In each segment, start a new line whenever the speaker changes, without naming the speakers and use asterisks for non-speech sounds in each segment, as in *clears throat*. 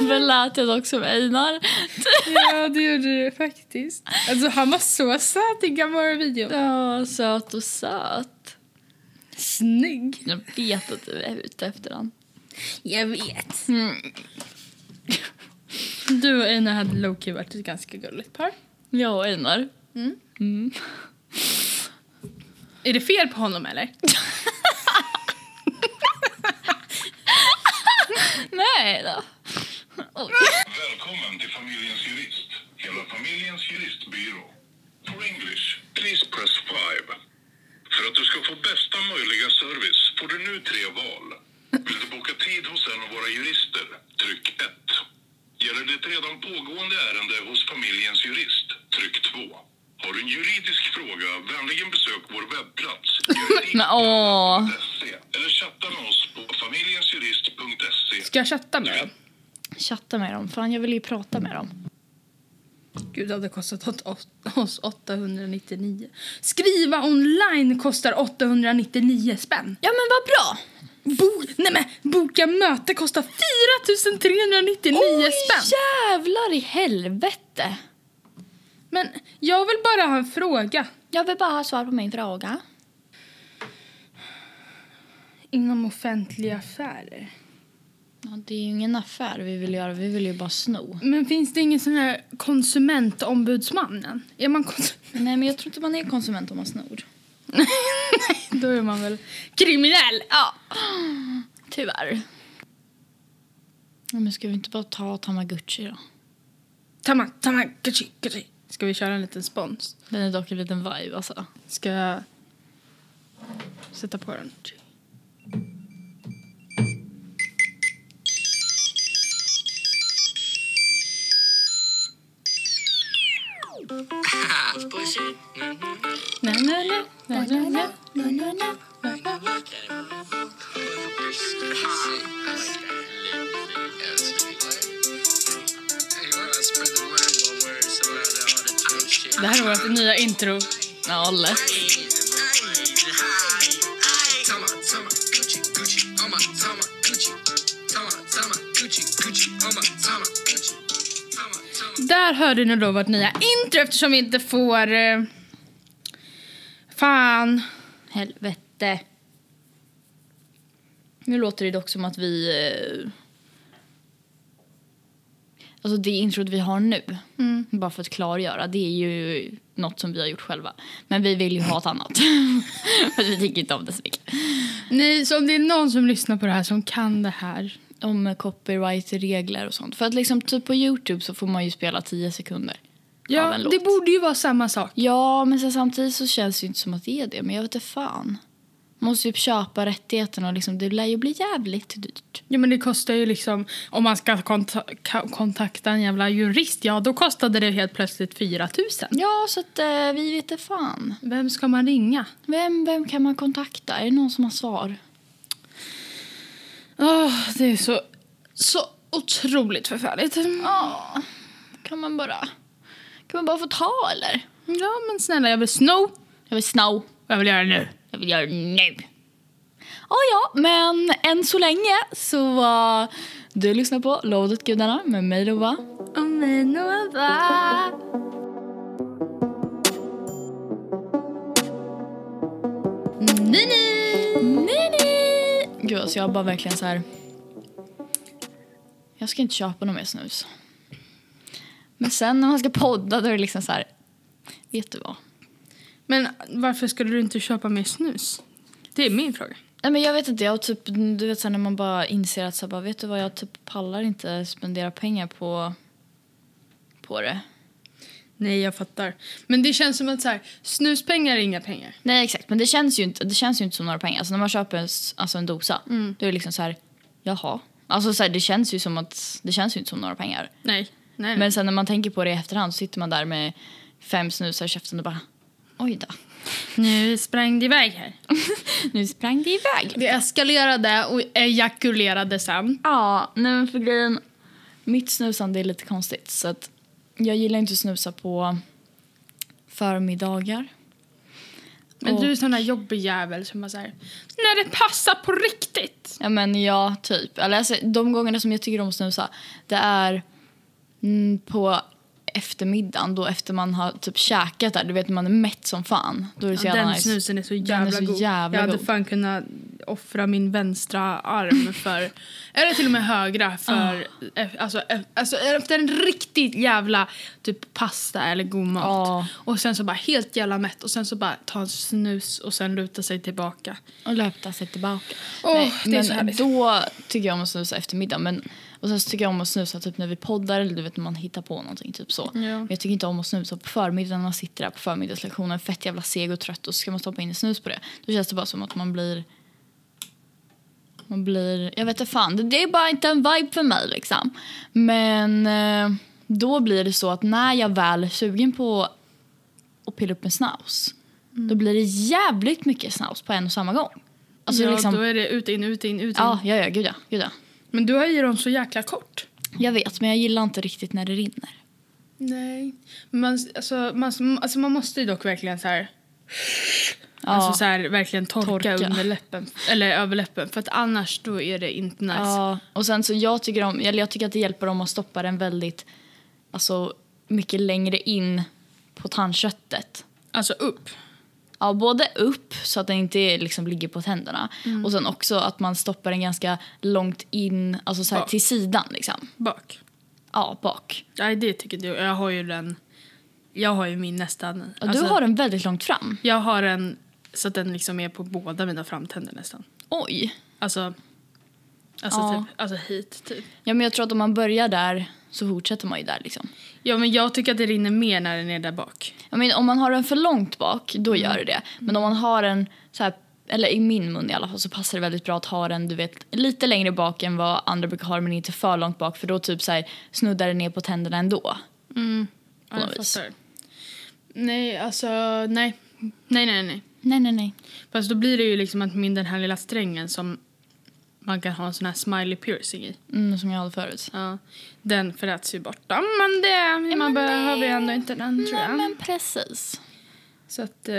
väl lät jag dock som Einar.
Ja, det gjorde du faktiskt. Alltså, han var så söt i gamla videon.
Ja, söt och söt.
Snygg.
Jag vet att du är ute efter den.
Jag vet.
Mm.
Du och Einar hade Loki varit ett ganska gulligt par.
Jag och Einar.
Mm.
Mm.
Är det fel på honom eller?
Nej då. Oj.
Välkommen till familjens jurist. Hela familjens juristbyrå. For English, please press 5. För att du ska få bästa möjliga service får du nu tre val. Vill du boka tid hos en av våra jurister? Tryck 1. Gäller det ett redan pågående ärende hos familjens jurist? Tryck 2. Har du en juridisk fråga? Vänligen besök vår webbplats. juridik.se,
Men åh.
Eller chatta med oss på familjensjurist.se.
Ska jag chatta med dem?
Chatta med dem. Fan, jag vill ju prata med dem.
Gud, det hade kostat åt- åt- oss 899. Skriva online kostar 899 spänn.
Ja, men vad bra!
Bo, nej men, boka möte kostar 4399
Oj,
spänn.
jävlar i helvete!
Men jag vill bara ha en fråga.
Jag vill bara ha svar på min fråga.
Inom offentliga affärer.
Ja, det är ju ingen affär vi vill göra, vi vill ju bara sno.
Men finns det ingen sån här konsumentombudsmannen? Är man kons- *laughs*
Nej, men jag tror inte man är konsument om man snor.
Nej, då är man väl kriminell.
Ja, tyvärr. Ja, men ska vi inte bara ta Tamagotchi då?
Tama, tama, kachi, kachi. Ska vi köra en liten spons?
Den är dock en liten vibe alltså.
Ska jag sätta på den? Na, na, na, na, na, na. Det här är vårt nya intro.
Ja, lätt.
Där hörde ni då vårt nya intro eftersom vi inte får... Eh, fan.
Helvete. Nu låter det dock som att vi... eh, Alltså det introt vi har nu, bara för att klargöra, det är ju något som vi har gjort själva. Men vi vill ju ha ett *laughs* annat. för vi tycker inte om det så mycket.
Nej, så om det är någon som lyssnar på det här som kan det här.
Om copyright-regler och sånt. För att liksom typ på Youtube så får man ju spela 10 sekunder. av
Ja,
en
det
låt.
borde ju vara samma sak.
Ja, men sen samtidigt så känns det ju inte som att det är det. Men jag vet inte fan. Man måste ju köpa rättigheterna och liksom, det lär ju bli jävligt dyrt.
Ja, men det kostar ju liksom... Om man ska konta- ka- kontakta en jävla jurist, ja då kostade det helt plötsligt 4 000.
Ja, så att eh, vi vet inte fan.
Vem ska man ringa?
Vem, vem kan man kontakta? Är det någon som har svar?
Åh, det är så, så otroligt förfärligt.
Ja, kan man bara... Kan man bara få ta eller?
Ja, men snälla, jag vill sno.
Jag vill snow.
Jag vill göra det nu.
Jag vill göra det nu. Ja, ja, men än så länge så var du lyssnar på Lovet gudarna med mig Lova.
Och mig Nova.
Nej, nej! Nej, nej! Gud, alltså jag har bara verkligen så här... Jag ska inte köpa någon mer snus. Men sen när man ska podda då är det liksom så här... Vet du vad?
Men varför skulle du inte köpa mer snus? Det är min fråga.
Nej, men jag vet inte, jag typ, du vet så här, när man bara inser att så här, bara, vet du vad, jag typ pallar inte spendera pengar på, på det.
Nej, jag fattar. Men det känns som att så här, snuspengar är inga pengar.
Nej exakt, men det känns ju inte, det känns ju inte som några pengar. Alltså när man köper en, s- alltså en dosa, då är det liksom så här, jaha. Alltså så här, det känns ju som att, det känns ju inte som några pengar.
Nej. Nej.
Men sen när man tänker på det i efterhand så sitter man där med fem snusar i käften och bara, oj då. *laughs*
nu sprang det iväg här.
Nu sprang det iväg.
Det eskalerade och ejakulerade sen.
Ja, nej men för grejen, mitt snusande är lite konstigt så att jag gillar inte att snusa på förmiddagar.
Men
Och-
du är sån där jobbig jävel som bara så här, när det passar på riktigt.
Ja, men ja, typ. Eller, alltså, de gångerna som jag tycker om att snusa, det är mm, på eftermiddagen då efter man har typ käkat där. Du vet när man är mätt som fan. Då är det så jävla
den
nice.
snusen är så
Den
jävla
är så
god.
jävla
jag hade
god.
fan kunnat offra min vänstra arm för, eller till och med högra för,
Ah.
eh, alltså, eh, alltså efter en riktigt jävla typ pasta eller god mat.
Ja.
Och sen så bara helt jävla mätt och sen så bara ta en snus och sen luta sig tillbaka.
Och löpte sig tillbaka.
Åh, det är så
men
härligt.
då tycker jag om att snusa eftermiddag. Men, och sen så tycker jag om att snusa typ när vi poddar eller du vet när man hittar på någonting. Typ så.
Ja.
Men jag tycker inte om att snusa på förmiddagen när man sitter där på förmiddagslektionen fett jävla seg och trött och så ska man stoppa in en snus på det. Då känns det bara som att man blir... Man blir... Jag vet inte fan, det, det är bara inte en vibe för mig liksom. Men eh, då blir det så att när jag väl är sugen på att pilla upp en snaus
Mm.
då blir det jävligt mycket snaus på en och samma gång. Alltså
ja,
liksom... Ah.
då är det ut, in, ut, in, ut, in.
Ja, ja, ja, gud ja, gud ja.
Men du har ju dem så jäkla kort.
Jag vet, men jag gillar inte riktigt när det rinner.
Nej. Man, alltså, man, alltså, man måste ju dock verkligen så här,
Ja,
alltså, så här verkligen torka,
Torka.
under läppen, eller över läppen. För att annars då är det inte nice.
ja. Alltså, och sen så jag tycker om, eller jag tycker att det hjälper om att stoppa den väldigt, alltså mycket längre in på tandköttet.
Alltså upp.
Ja, både upp så att den inte liksom ligger på tänderna och sen också att man stoppar den ganska långt in, alltså så här
Bak.
till sidan liksom.
Bak.
Ja, bak.
Nej, det tycker du. Jag har ju den. Jag har ju min nästan.
Ja,
alltså,
du har den väldigt långt fram.
Jag har en så att den liksom är på båda mina framtänder nästan.
Oj.
Alltså. Alltså,
Ja.
typ, alltså hit typ.
Ja, men jag tror att om man börjar där så fortsätter man ju där liksom.
Ja men jag tycker att det rinner mer när den är där bak.
Jag menar, om man har den för långt bak, då gör det det. Men om man har den, så här, eller i min mun i alla fall, så passar det väldigt bra att ha den du vet, lite längre bak än vad andra brukar ha men inte för långt bak för då typ så här, snuddar det ner på tänderna ändå.
Ja, jag
något vis.
fattar. Nej alltså nej. Nej nej nej.
Nej, nej, nej.
Fast då blir det ju liksom att min den här lilla strängen som man kan ha en sån här smiley piercing i.
Mm, som jag hade förut.
Ja, den föräts ju bort. Ja, men det, man
men
behöver
det-
ju ändå inte den tror
Nej,
jag.
men precis.
Så att, eh,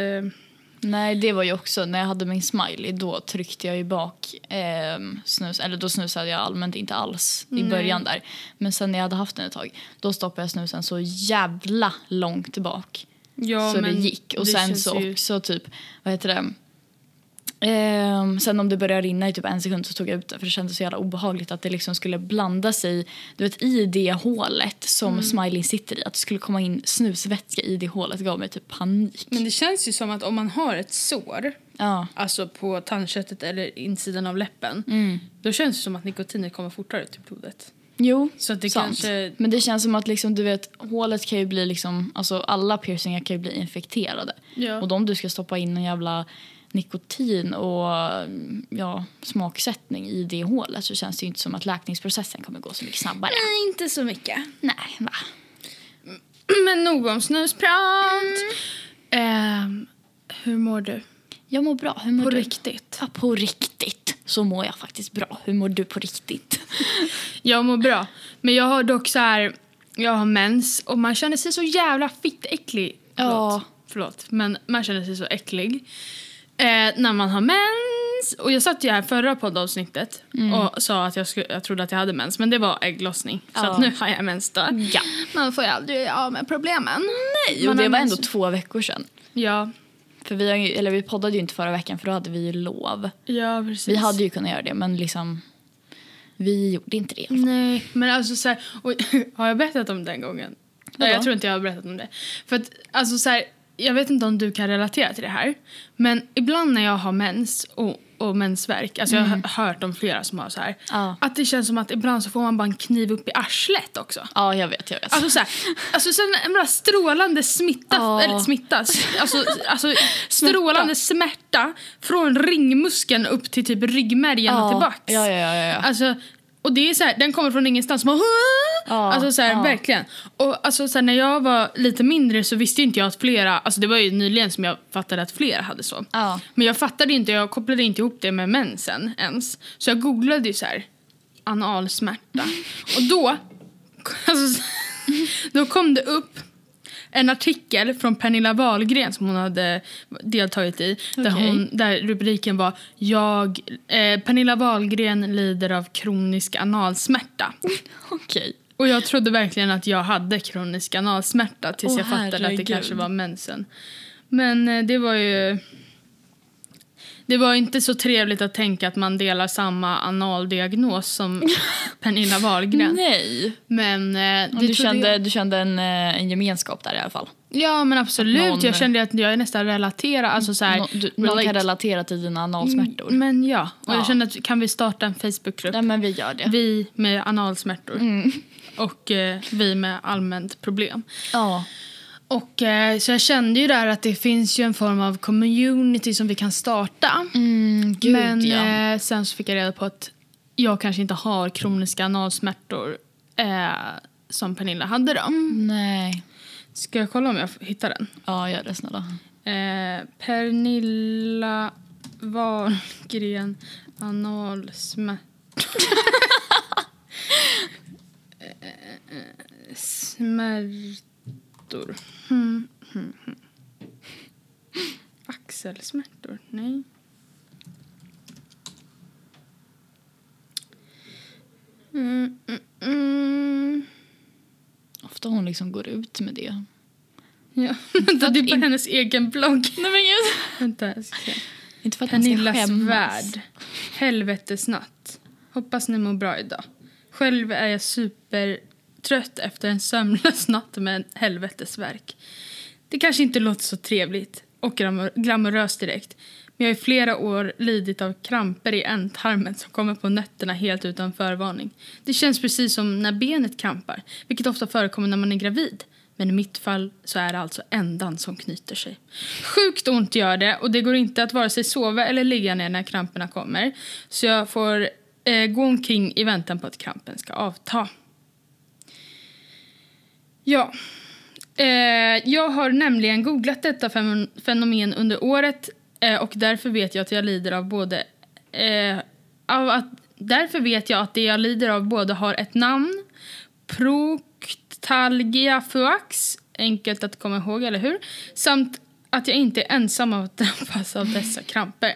Nej, det var ju också när jag hade min smiley. Då tryckte jag ju bak ehm, snus. Eller då snusade jag allmänt inte alls i början där. Men sen när jag hade haft den ett tag, då stoppade jag snusen så jävla långt bak.
ja
så det
men
gick. Och
det
sen
känns
så
ju-
också typ, vad heter det? Ehm, sen om det började rinna i typ en sekund så tog jag ut det för det kändes så jävla obehagligt att det liksom skulle blanda sig du vet, i det hålet som
Mm.
Smiley sitter i. Att det skulle komma in snusvätska i det hålet gav mig typ panik.
Men det känns ju som att om man har ett sår,
Ja.
alltså på tandköttet eller insidan av läppen,
Mm.
då känns det som att nikotinet kommer fortare ut i blodet.
Jo,
Så att det
sant.
kanske-
Men det känns som att liksom, du vet, hålet kan ju bli liksom, alltså alla piercingar kan ju bli infekterade.
Ja.
Och då om du ska stoppa in en jävla nikotin och ja, smaksättning i det hålet så känns det ju inte som att läkningsprocessen kommer gå så mycket snabbare.
Nej, inte så mycket.
Nej, va?
*clears throat* Men nog om snusprat. Ehm, hur mår du?
Jag mår bra. Hur mår
På
du?
riktigt.
Ja, på riktigt så mår jag faktiskt bra. Hur mår du på riktigt?
Jag mår bra. Men jag har dock så här, jag har mens och man känner sig så jävla fittäcklig.
Ja.
Förlåt, men man känner sig så äcklig. Eh, när man har mens. Och jag satt ju här förra poddavsnittet
Mm.
och sa att jag, skulle, jag trodde att jag hade mens, men det var ägglossning. Så
Ja.
att nu har jag mens då.
Ja.
Man får ju aldrig av med problemen.
Jo,
Man
det
har
var
mens-
ändå två veckor sedan.
Ja,
För vi, har ju, eller vi poddade ju inte förra veckan för då hade vi ju lov.
ja precis.
Vi hade ju kunnat göra det, men liksom... Vi gjorde inte det.
Nej, men alltså så här, och, *laughs* Har jag berättat om den gången? Nej,
Vadå?
jag tror inte jag har berättat om det. För att, alltså så här, jag vet inte om du kan relatera till det här. Men ibland när jag har mens och, och mensvärk, alltså jag har hört om flera som har så här.
Mm. Ja.
Att det känns som att ibland så får man bara en kniv upp i arslet också.
Ja, jag vet. Jag vet.
Alltså så här, alltså sen en bara strålande smitta,
Ja.
eller smitta, s- alltså, alltså strålande smärta från ringmuskeln upp till typ ryggmärgen och
Ja.
tillbaks.
Ja, ja, ja, ja, ja.
Alltså, och det är så här, den kommer från ingenstans. Man,
Ja,
alltså så här,
ja.
verkligen. Och alltså så här, när jag var lite mindre så visste inte jag att flera, alltså det var ju nyligen som jag fattade att flera hade så.
Ja.
Men jag fattade inte, jag kopplade inte ihop det med mensen ens. Så jag googlade ju så här, *laughs* analsmärta. Och då, alltså, så- då kom det upp en artikel från Pernilla Wahlgren som hon hade deltagit i. Där,
Okej.
hon, där rubriken var jag, eh, Pernilla Wahlgren lider av kronisk analsmärta.
Okej.
Och jag trodde verkligen att jag hade kronisk analsmärta tills
Åh,
jag fattade att det
herregud.
kanske var mensen. Men eh, det var ju... Det var inte så trevligt att tänka att man delar samma analdiagnos som
*laughs*
Pernilla Wahlgren.
Nej.
Men eh,
Och
det
Du
trodde jag-
kände, du kände en, eh, en gemenskap där i alla fall.
Ja, men absolut.
Någon-
Jag kände att jag är nästan relaterad. Alltså så här,
Nå, du, någon
relate-
kan relatera till dina analsmärtor.
Men ja, och
Ja.
jag kände att kan vi starta en Facebookgrupp?
Nej, men Mm. vi gör det.
Vi med analsmärtor och eh, vi med allmänt problem.
Ja.
Och eh, så jag kände ju där att det finns ju en form av community som vi kan starta.
Mm, gud,
men
ja.
eh, sen så fick jag reda på att jag kanske inte har kroniska analsmärtor eh, som Pernilla hade då.
Mm. Nej.
Ska jag kolla om jag hittar den?
Ja, gör det snälla.
Eh, Pernilla Wahlgren analsmärtor. Eh, eh, eh, Smärtor. Hmm, hmm, hmm. Axelsmärtor? Nej. Mm, mm, mm.
Ofta hon liksom går ut med det.
Ja, *laughs* vänta, det är på hennes egen blogg.
Nej men gud.
Vänta, jag ska se.
Inte för att man ska
Pernillas
skämmas.
värld. Helvetesnatt. Hoppas ni mår bra idag. Själv är jag supertrött efter en sömnlös natt med en helvetesverk. Det kanske inte låter så trevligt och glamor- glamoröst direkt men jag har i flera år lidit av kramper i ändtarmen som kommer på nätterna helt utan förvarning. Det känns precis som när benet krampar, vilket ofta förekommer när man är gravid. Men i mitt fall så är det alltså ändan som knyter sig. Sjukt ont gör det och det går inte att vare sig sova eller ligga ner när kramperna kommer. Så jag får eh, gå omkring i väntan på att krampen ska avta. Ja. Eh, jag har nämligen googlat detta fem- fenomen under året eh, och därför vet jag att jag lider av både... Eh, av att, därför vet jag att det jag lider av både har ett namn, proktalgia phoax, enkelt att komma ihåg, eller hur? Samt att jag inte är ensam om att drabbas av dessa kramper.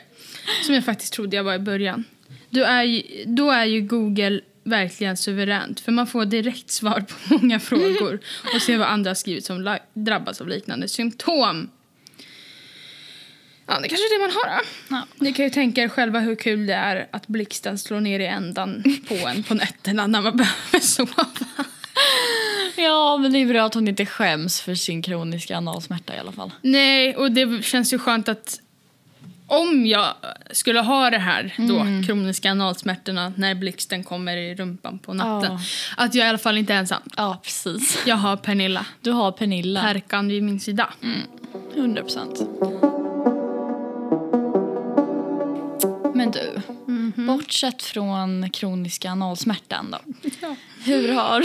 Som jag faktiskt trodde jag var i början. Då är ju, då är ju Google verkligen suveränt för man får direkt svar på *laughs* många frågor och ser vad andra har skrivit som la- drabbas av liknande symptom. Ja, det kanske är det man har då.
Ja.
Ni kan ju tänka er själva hur kul det är att blixten slår ner i ändan på en på nätterna när man behöver sova.
Ja, men det är bra att hon inte skäms för sin kroniska analsmärta i alla fall.
Nej, och det känns ju skönt att om jag skulle ha det här då,
Mm.
kroniska analsmärtorna när blixten kommer i rumpan på natten,
Ja.
att jag i alla fall inte är ensam.
Ja, precis.
Jag har Pernilla,
Du har Pernilla.
härkan vid min sida.
Mm. 100 procent. Men du, bortsett från kroniska analsmärtan då.
Ja.
Hur har,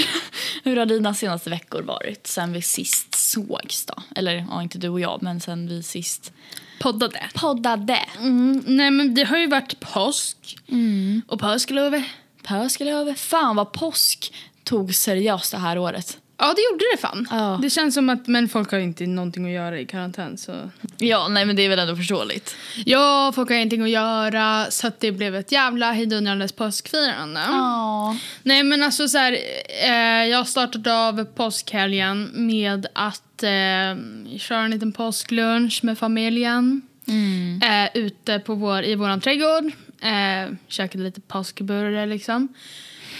hur har dina senaste veckor varit sen vi sist sågs då? Eller ja, inte du och jag, men sen vi sist
Poddade.
poddade.
Mm, nej, men det har ju varit påsk
Mm.
och påsklov.
Pöskelöver. Fan vad påsk tog seriöst det här året.
Ja, det gjorde det fan.
Ja.
Det känns som att, men folk har ju inte någonting att göra i karantän så.
Ja, nej men det är väl ändå förståeligt.
Ja, folk har ingenting att göra så att det blev ett jävla hejdundrandes påskfirande.
Ja.
Nej men alltså så här, eh, jag startade av påskhelgen med att eh, köra en liten påsklunch med familjen.
Mm.
Eh, ute på vår, i våran trädgård. Eh, käkade lite påskburgare liksom.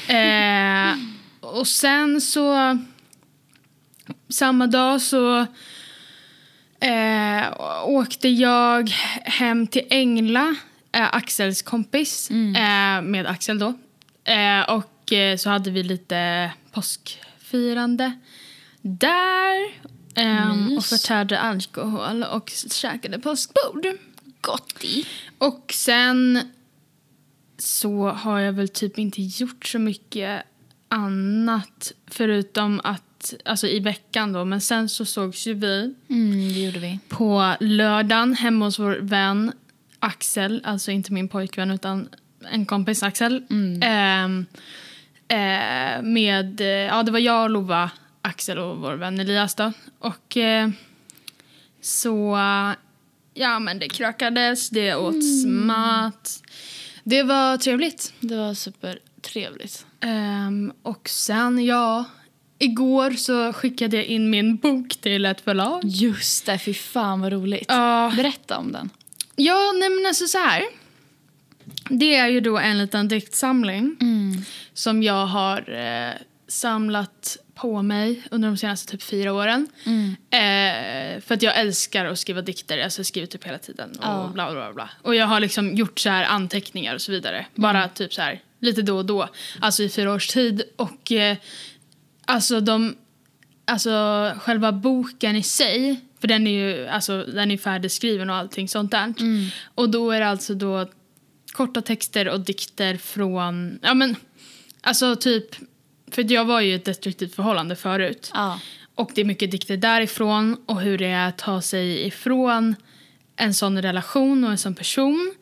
Eh, och sen så, samma dag så eh, åkte jag hem till Engla, eh, Axels kompis, eh, med Axel då. Eh, och eh, så hade vi lite påskfirande där. ehm, och
Mys.
förtärde alkohol och käkade påskbord.
Gotti.
Och sen så har jag väl typ inte gjort så mycket annat förutom att, alltså i veckan då, men sen så sågs ju vi
Mm, det gjorde vi.
på lördagen hemma hos vår vän Axel, alltså inte min pojkvän utan en kompis Axel. Ehm, eh, med, eh, ja det var jag, Lova, Axel och vår vän Elias då. Och eh, så, ja men det krökades, det åts mat. Det var trevligt.
Det var supertrevligt.
Ehm, och sen, ja, igår så skickade jag in min bok till ett förlag.
Just det, fy fan vad roligt.
Ja.
Berätta om den.
Ja, nej men alltså så här. Det är ju då en liten diktsamling som jag har eh, samlat på mig under de senaste typ fyra åren. Eh, för att jag älskar att skriva dikter, alltså jag skriver typ hela tiden och
Ja.
bla bla bla. Och jag har liksom gjort så här anteckningar och så vidare. Bara typ så här lite då och då, alltså i fyra års tid. Och eh, alltså de, alltså själva boken i sig, för den är ju alltså, den är färdigskriven och allting sånt där. Och då är det alltså då korta texter och dikter från, ja men, alltså typ, för jag var ju i ett destruktivt förhållande förut.
Ja.
Och det är mycket dikter därifrån och hur det är att ta sig ifrån en sån relation och en sån person.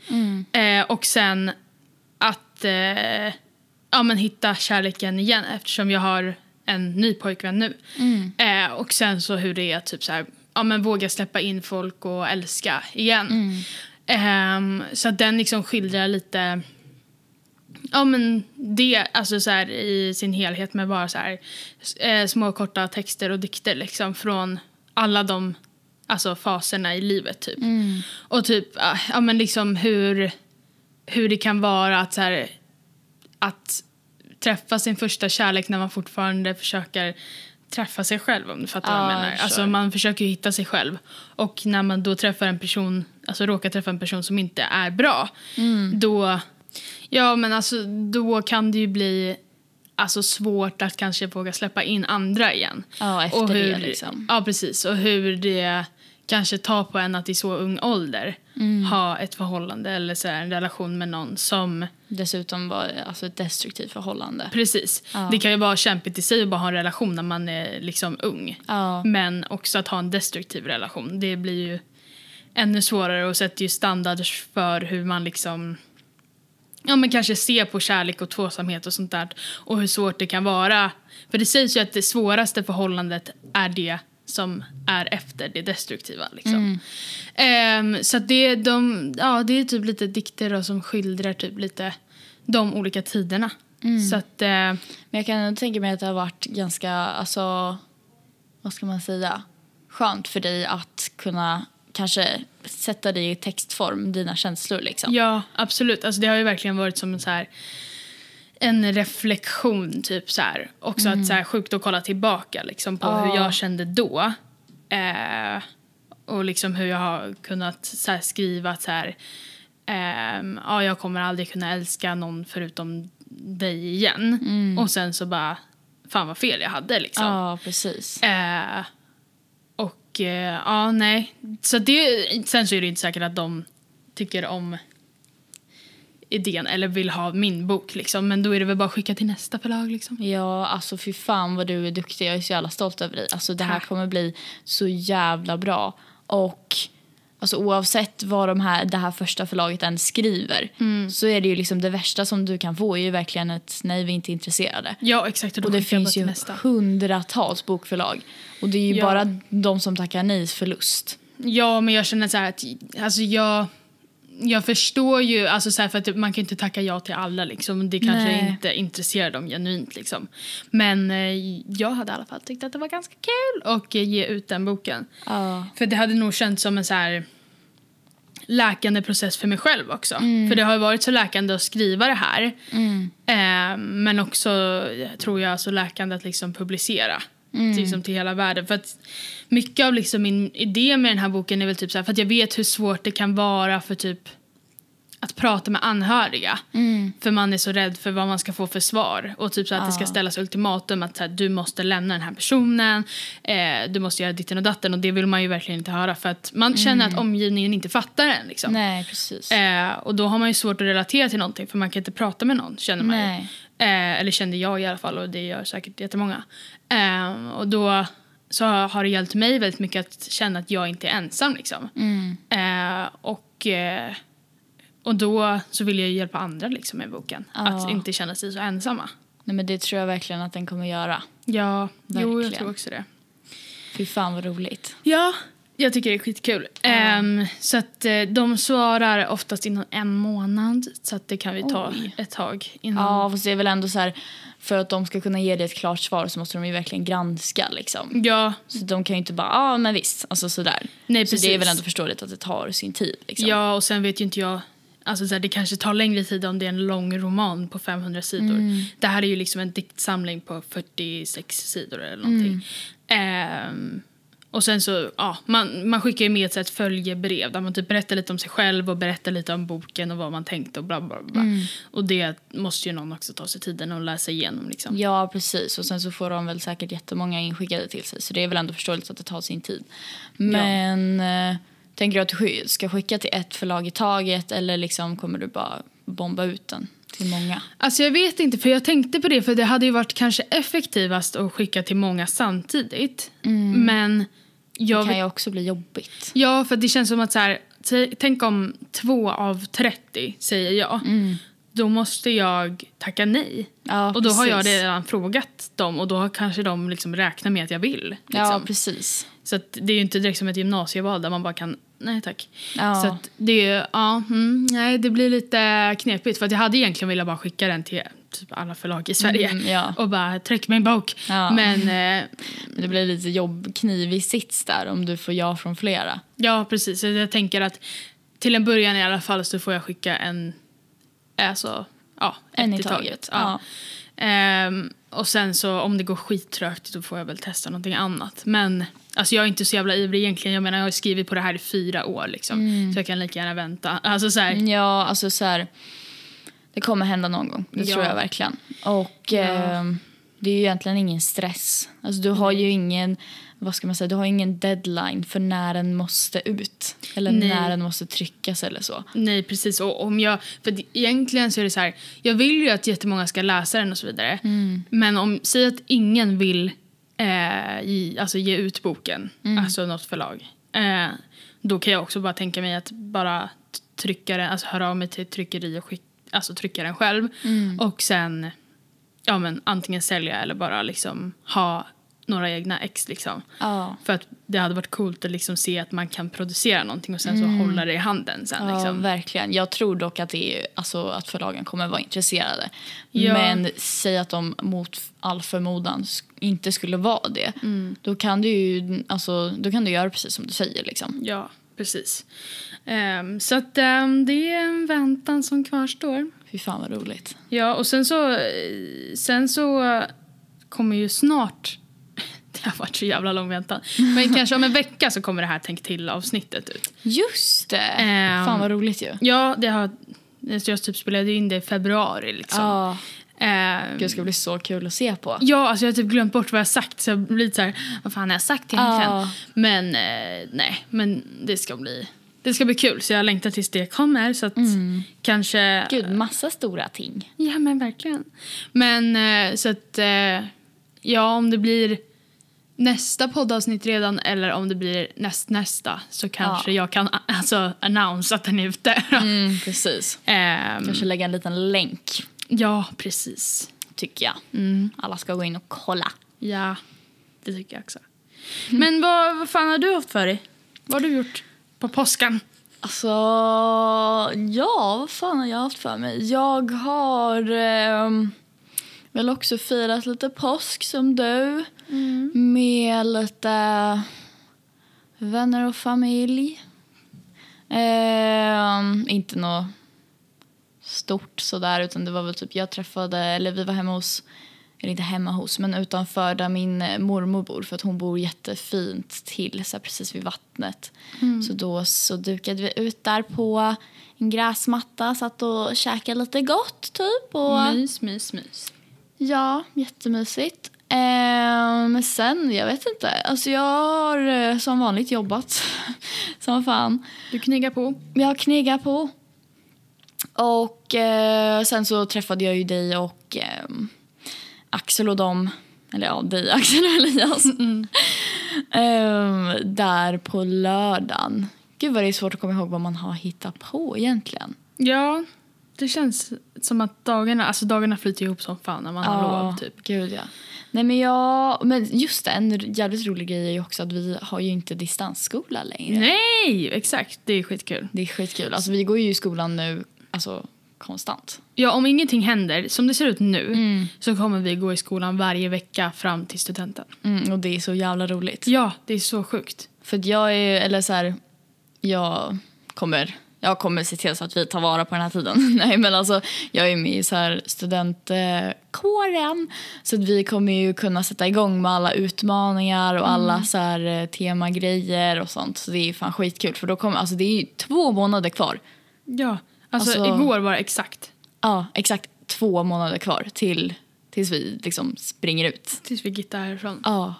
Eh, och sen att eh, ja, men hitta kärleken igen eftersom jag har en ny pojkvän nu. Eh, och sen så hur det är att typ så här, ja, men våga släppa in folk och älska igen. Ehm, så att den liksom skildrar lite Ja men det, alltså så här i sin helhet med bara så här s- eh, små korta texter och dikter liksom från alla de alltså faserna i livet typ. Och typ, ah, ja men liksom hur, hur det kan vara att så här att träffa sin första kärlek när man fortfarande försöker träffa sig själv om du fattar vad
Ja,
jag menar.
jag
Alltså
förstår.
man försöker ju hitta sig själv och när man då träffar en person, alltså råkar träffa en person som inte är bra,
Mm.
då Ja, men alltså då kan det ju bli alltså, svårt att kanske våga släppa in andra igen.
Ja, efter det, liksom.
Ja, precis. Och hur det kanske tar på en att i så ung ålder
Mm.
ha ett förhållande eller så här, en relation med någon som...
Dessutom var det alltså ett destruktivt förhållande.
Precis.
Ja.
Det kan ju vara kämpigt i sig att bara ha en relation när man är liksom ung.
Ja.
Men också att ha en destruktiv relation. Det blir ju ännu svårare och sätter ju standarder för hur man liksom ja, men kanske ser på kärlek och tvåsamhet och sånt där. Och hur svårt det kan vara. För det sägs ju att det svåraste förhållandet är det som är efter det destruktiva. Liksom. Ehm, så att det, de, ja, det är typ lite dikter då, som skildrar typ lite de olika tiderna. Så att, eh,
Men jag kan ändå tänka mig att det har varit ganska, alltså, vad ska man säga, skönt för dig att kunna kanske sätta dig i textform, dina känslor liksom.
Ja, absolut. Alltså, det har ju verkligen varit som en, så här, en reflektion. typ så här. Också att så här, sjukt att kolla tillbaka liksom, på
Mm. Ja.
hur jag kände då. Eh, och liksom hur jag har kunnat så här, skriva att så här, ehm, ja, jag kommer aldrig kunna älska någon förutom dig igen. Och sen så bara, fan vad fel jag hade. Liksom.
Mm. Ja, precis.
Eh, och eh, ja, nej. Så det, sen så är det inte säkert att de tycker om idén eller vill ha min bok. Liksom. Men då är det väl bara att skicka till nästa förlag. Liksom.
Ja, alltså fy fan vad du är duktig. Jag är så jävla stolt över dig. Alltså det här
Tack.
kommer bli så jävla bra. Och alltså, oavsett vad de här, det här första förlaget än skriver
Mm.
så är det ju liksom det värsta som du kan få är ju verkligen ett nej, vi är inte intresserade.
Ja, exakt. Och, då
Och det
skickar jag bara
finns
till
ju
nästa.
hundratals bokförlag. Och det är ju
Ja.
bara de som tackar nej förlust.
Ja, men jag känner så här att alltså jag, jag förstår ju, alltså så här för att man kan ju inte tacka ja till alla liksom. Det kanske
Nej.
inte intresserar dem genuint liksom. Men eh, jag hade i alla fall tyckt att det var ganska kul att eh, ge ut den boken.
Ja.
För det hade nog känts som en så här läkande process för mig själv också. För det har ju varit så läkande att skriva det här. Eh, men också, eh, tror jag, så läkande att liksom publicera. Till, liksom, till hela världen. För att mycket av liksom min idé med den här boken är väl typ så här, för att jag vet hur svårt det kan vara för typ att prata med anhöriga.
Mm.
För man är så rädd för vad man ska få för svar. Och typ så att det
Ah.
ska ställas ultimatum att så här, du måste lämna den här personen. Eh, du måste göra ditten och datten. Och det vill man ju verkligen inte höra. För att man känner att omgivningen inte fattar en. Liksom.
Mm. Nej, precis.
Eh, och då har man ju svårt att relatera till någonting. För man kan inte prata med någon känner man ju.
Nej.
Eh, eller kände jag i alla fall och det gör säkert jättemånga. Eh, och då så har det hjälpt mig väldigt mycket att känna att jag inte är ensam liksom.
Mm.
Eh, och, eh, och då så vill jag ju hjälpa andra liksom med boken.
Ja.
Att inte känna sig så ensamma.
nej, men det tror jag verkligen att den kommer göra.
Ja, jo jag
Verkligen.
tror också det.
Fy fan vad roligt.
Ja, jag tycker det är skitkul. Ehm, så att eh, de svarar oftast inom en månad. Så att det kan vi ta
Oj.
ett tag innan.
Ja, fast det är väl ändå så här, för att de ska kunna ge dig ett klart svar så måste de ju verkligen granska liksom.
Ja,
Så de kan ju inte bara, ja ah, men visst, alltså sådär.
Nej,
så det är
precis.
väl ändå förståeligt att det tar sin tid liksom.
ja, och sen vet ju inte jag. Alltså så här, det kanske tar längre tid om det är en lång roman på 500 sidor.
Mm.
Det här är ju liksom en diktsamling på 46 sidor eller någonting.
Mm.
Ehm, och sen så, ja, man, man skickar ju med ett, så här, ett följebrev där man typ berättar lite om sig själv och berättar lite om boken och vad man tänkte och bla bla bla.
Mm.
Och det måste ju någon också ta sig tiden att läsa igenom liksom.
Ja, precis. Och sen så får de väl säkert jättemånga inskickade till sig. Så det är väl ändå förståeligt att det tar sin tid. Men eh, tänker du att du sk- ska skicka till ett förlag i taget eller liksom kommer du bara bomba ut den till många?
Alltså jag vet inte, för jag tänkte på det för det hade ju varit kanske effektivast att skicka till många samtidigt.
Mm.
Men jag
Det kan
vet,
ju också bli jobbigt.
Ja, för det känns som att så här, t- tänk om två av 30 säger ja. Då måste jag tacka nej.
Mm. Ja,
och då har jag
precis.
redan frågat dem och då har kanske de liksom räknat med att jag vill.
Ja,
Liksom.
precis.
så att det är ju inte direkt som ett gymnasieval där man bara kan, nej tack.
Ja.
Så att det är ju, ja, mm, nej det blir lite knepigt för att jag hade egentligen velat bara skicka den till typ alla förlag i Sverige
Mm, ja.
och bara tryck min bok.
Ja.
Men eh,
Men det blir lite jobb, knivig sits där om du får ja från flera.
ja precis, Så jag tänker att till en början i alla fall så får jag skicka en, alltså ja,
En
ett
i taget,
Ja. Ehm, och sen så om det går skittrögt då får jag väl testa någonting annat. Men alltså jag är inte så jävla ivrig egentligen. Jag menar jag har ju skrivit på det här i fyra år liksom.
Mm.
Så jag kan lika gärna vänta. Alltså så här,
Ja, alltså så här. Det kommer hända någon gång, det
Ja.
tror jag verkligen. Och ehm, det är ju egentligen ingen stress. Alltså du har ju ingen, vad ska man säga, du har ingen deadline för när den måste ut. Eller
Nej.
när den måste tryckas eller så.
Nej, precis. Och om jag, för det- egentligen så är det så här, jag vill ju att jättemånga ska läsa den och så vidare.
Mm.
Men om, säg att ingen vill eh, ge, alltså ge ut boken,
Mm.
alltså något förlag. Eh, då kan jag också bara tänka mig att bara t- trycka den, alltså höra av mig till ett tryckeri och skick, alltså trycka den själv.
Mm.
Och sen ja, men, antingen sälja eller bara liksom ha några egna ex liksom.
Ja.
För att det hade varit coolt att liksom se att man kan producera någonting och sen så hålla det i handen sen.
Mm. Ja,
Liksom.
verkligen. Jag tror dock att, det är, alltså, att förlagen kommer vara intresserade.
Ja.
Men säg att de mot all förmodan sk- inte skulle vara det. Då, kan du ju, alltså, då kan du göra precis som du säger. Liksom.
Ja, precis. Ehm, så att ehm, det är en väntan som kvarstår.
Fy fan vad roligt.
Ja, och sen så, eh, sen så kommer ju snart... *laughs* Det har varit så jävla lång väntan. Men kanske om en vecka så kommer det här Tänk till-avsnittet ut.
Just det!
Ehm,
fan vad roligt ju.
Ja, det har... så Jag typ spelade in det i februari. Liksom.
Ja,
Ehm,
gud, det ska bli så kul att se på.
Ja, alltså jag har typ glömt bort vad jag har sagt så jag blir lite så här, vad fan har jag sagt egentligen?
Ja.
Men eh, nej, men det ska bli det ska bli kul så jag längtar tills det kommer så att kanske
Mm. Gud, massa stora ting.
Ja men verkligen. Men eh, så att eh, ja, om det blir nästa poddavsnitt redan eller om det blir näst nästa så kanske jag kan alltså announce att den är ute.
Mm. precis.
*laughs*
Mm.
Ehm,
Kanske lägga en liten länk,
ja, precis.
tycker jag. Alla ska gå in och kolla.
Ja, det tycker jag också. Men vad, vad fan har du haft för dig? Vad har du gjort på påskan?
Alltså, ja, vad fan har jag haft för mig? Jag har ehm, väl också firat lite påsk som du. Med lite vänner och familj. Ehm, inte något stort sådär utan det var väl typ jag träffade, eller vi var hemma hos, eller inte hemma hos men utanför där min eh, mormor bor för att hon bor jättefint till så här precis vid vattnet. Så då så dukade vi ut där på en gräsmatta, satt och käkade lite gott typ. Och,
Mys, mys, mys.
Ja, jättemysigt. Eh, men sen, jag vet inte. Alltså jag har eh, som vanligt jobbat *laughs* som fan.
Du knegar på.
Jag har knegat på. Och eh, sen så träffade jag ju dig och ehm, Axel och dem. Eller ja, dig *laughs* Axel och Elias. Ehm, där på lördagen. Gud vad det är svårt att komma ihåg vad man har hittat på egentligen.
Ja, Det känns som att dagarna, alltså dagarna flyter ihop som fan när man har lov. Typ.
Gud, ja. Nej, men, jag, men just det, en jävligt rolig grej är ju också att vi har ju inte distansskola längre.
Nej, exakt. Det är skitkul.
Det är skitkul. Alltså, vi går ju i skolan nu alltså, konstant.
Ja, om ingenting händer, som det ser ut nu, så kommer vi gå i skolan varje vecka fram till studenten.
Mm, och det är så jävla roligt.
Ja, det är så sjukt.
För att jag är eller så här, jag kommer, jag kommer se till så att vi tar vara på den här tiden. *laughs* Nej men alltså, jag är med i så här studentkåren. Så att vi kommer ju kunna sätta igång med alla utmaningar och alla så här eh, temagrejer och sånt. Så det är fan skitkul för då kommer, alltså det är ju två månader kvar.
Ja, alltså,
Alltså-
igår var det exakt
Ja, exakt två månader kvar till, tills vi liksom springer ut.
tills vi gittade härifrån.
Ja.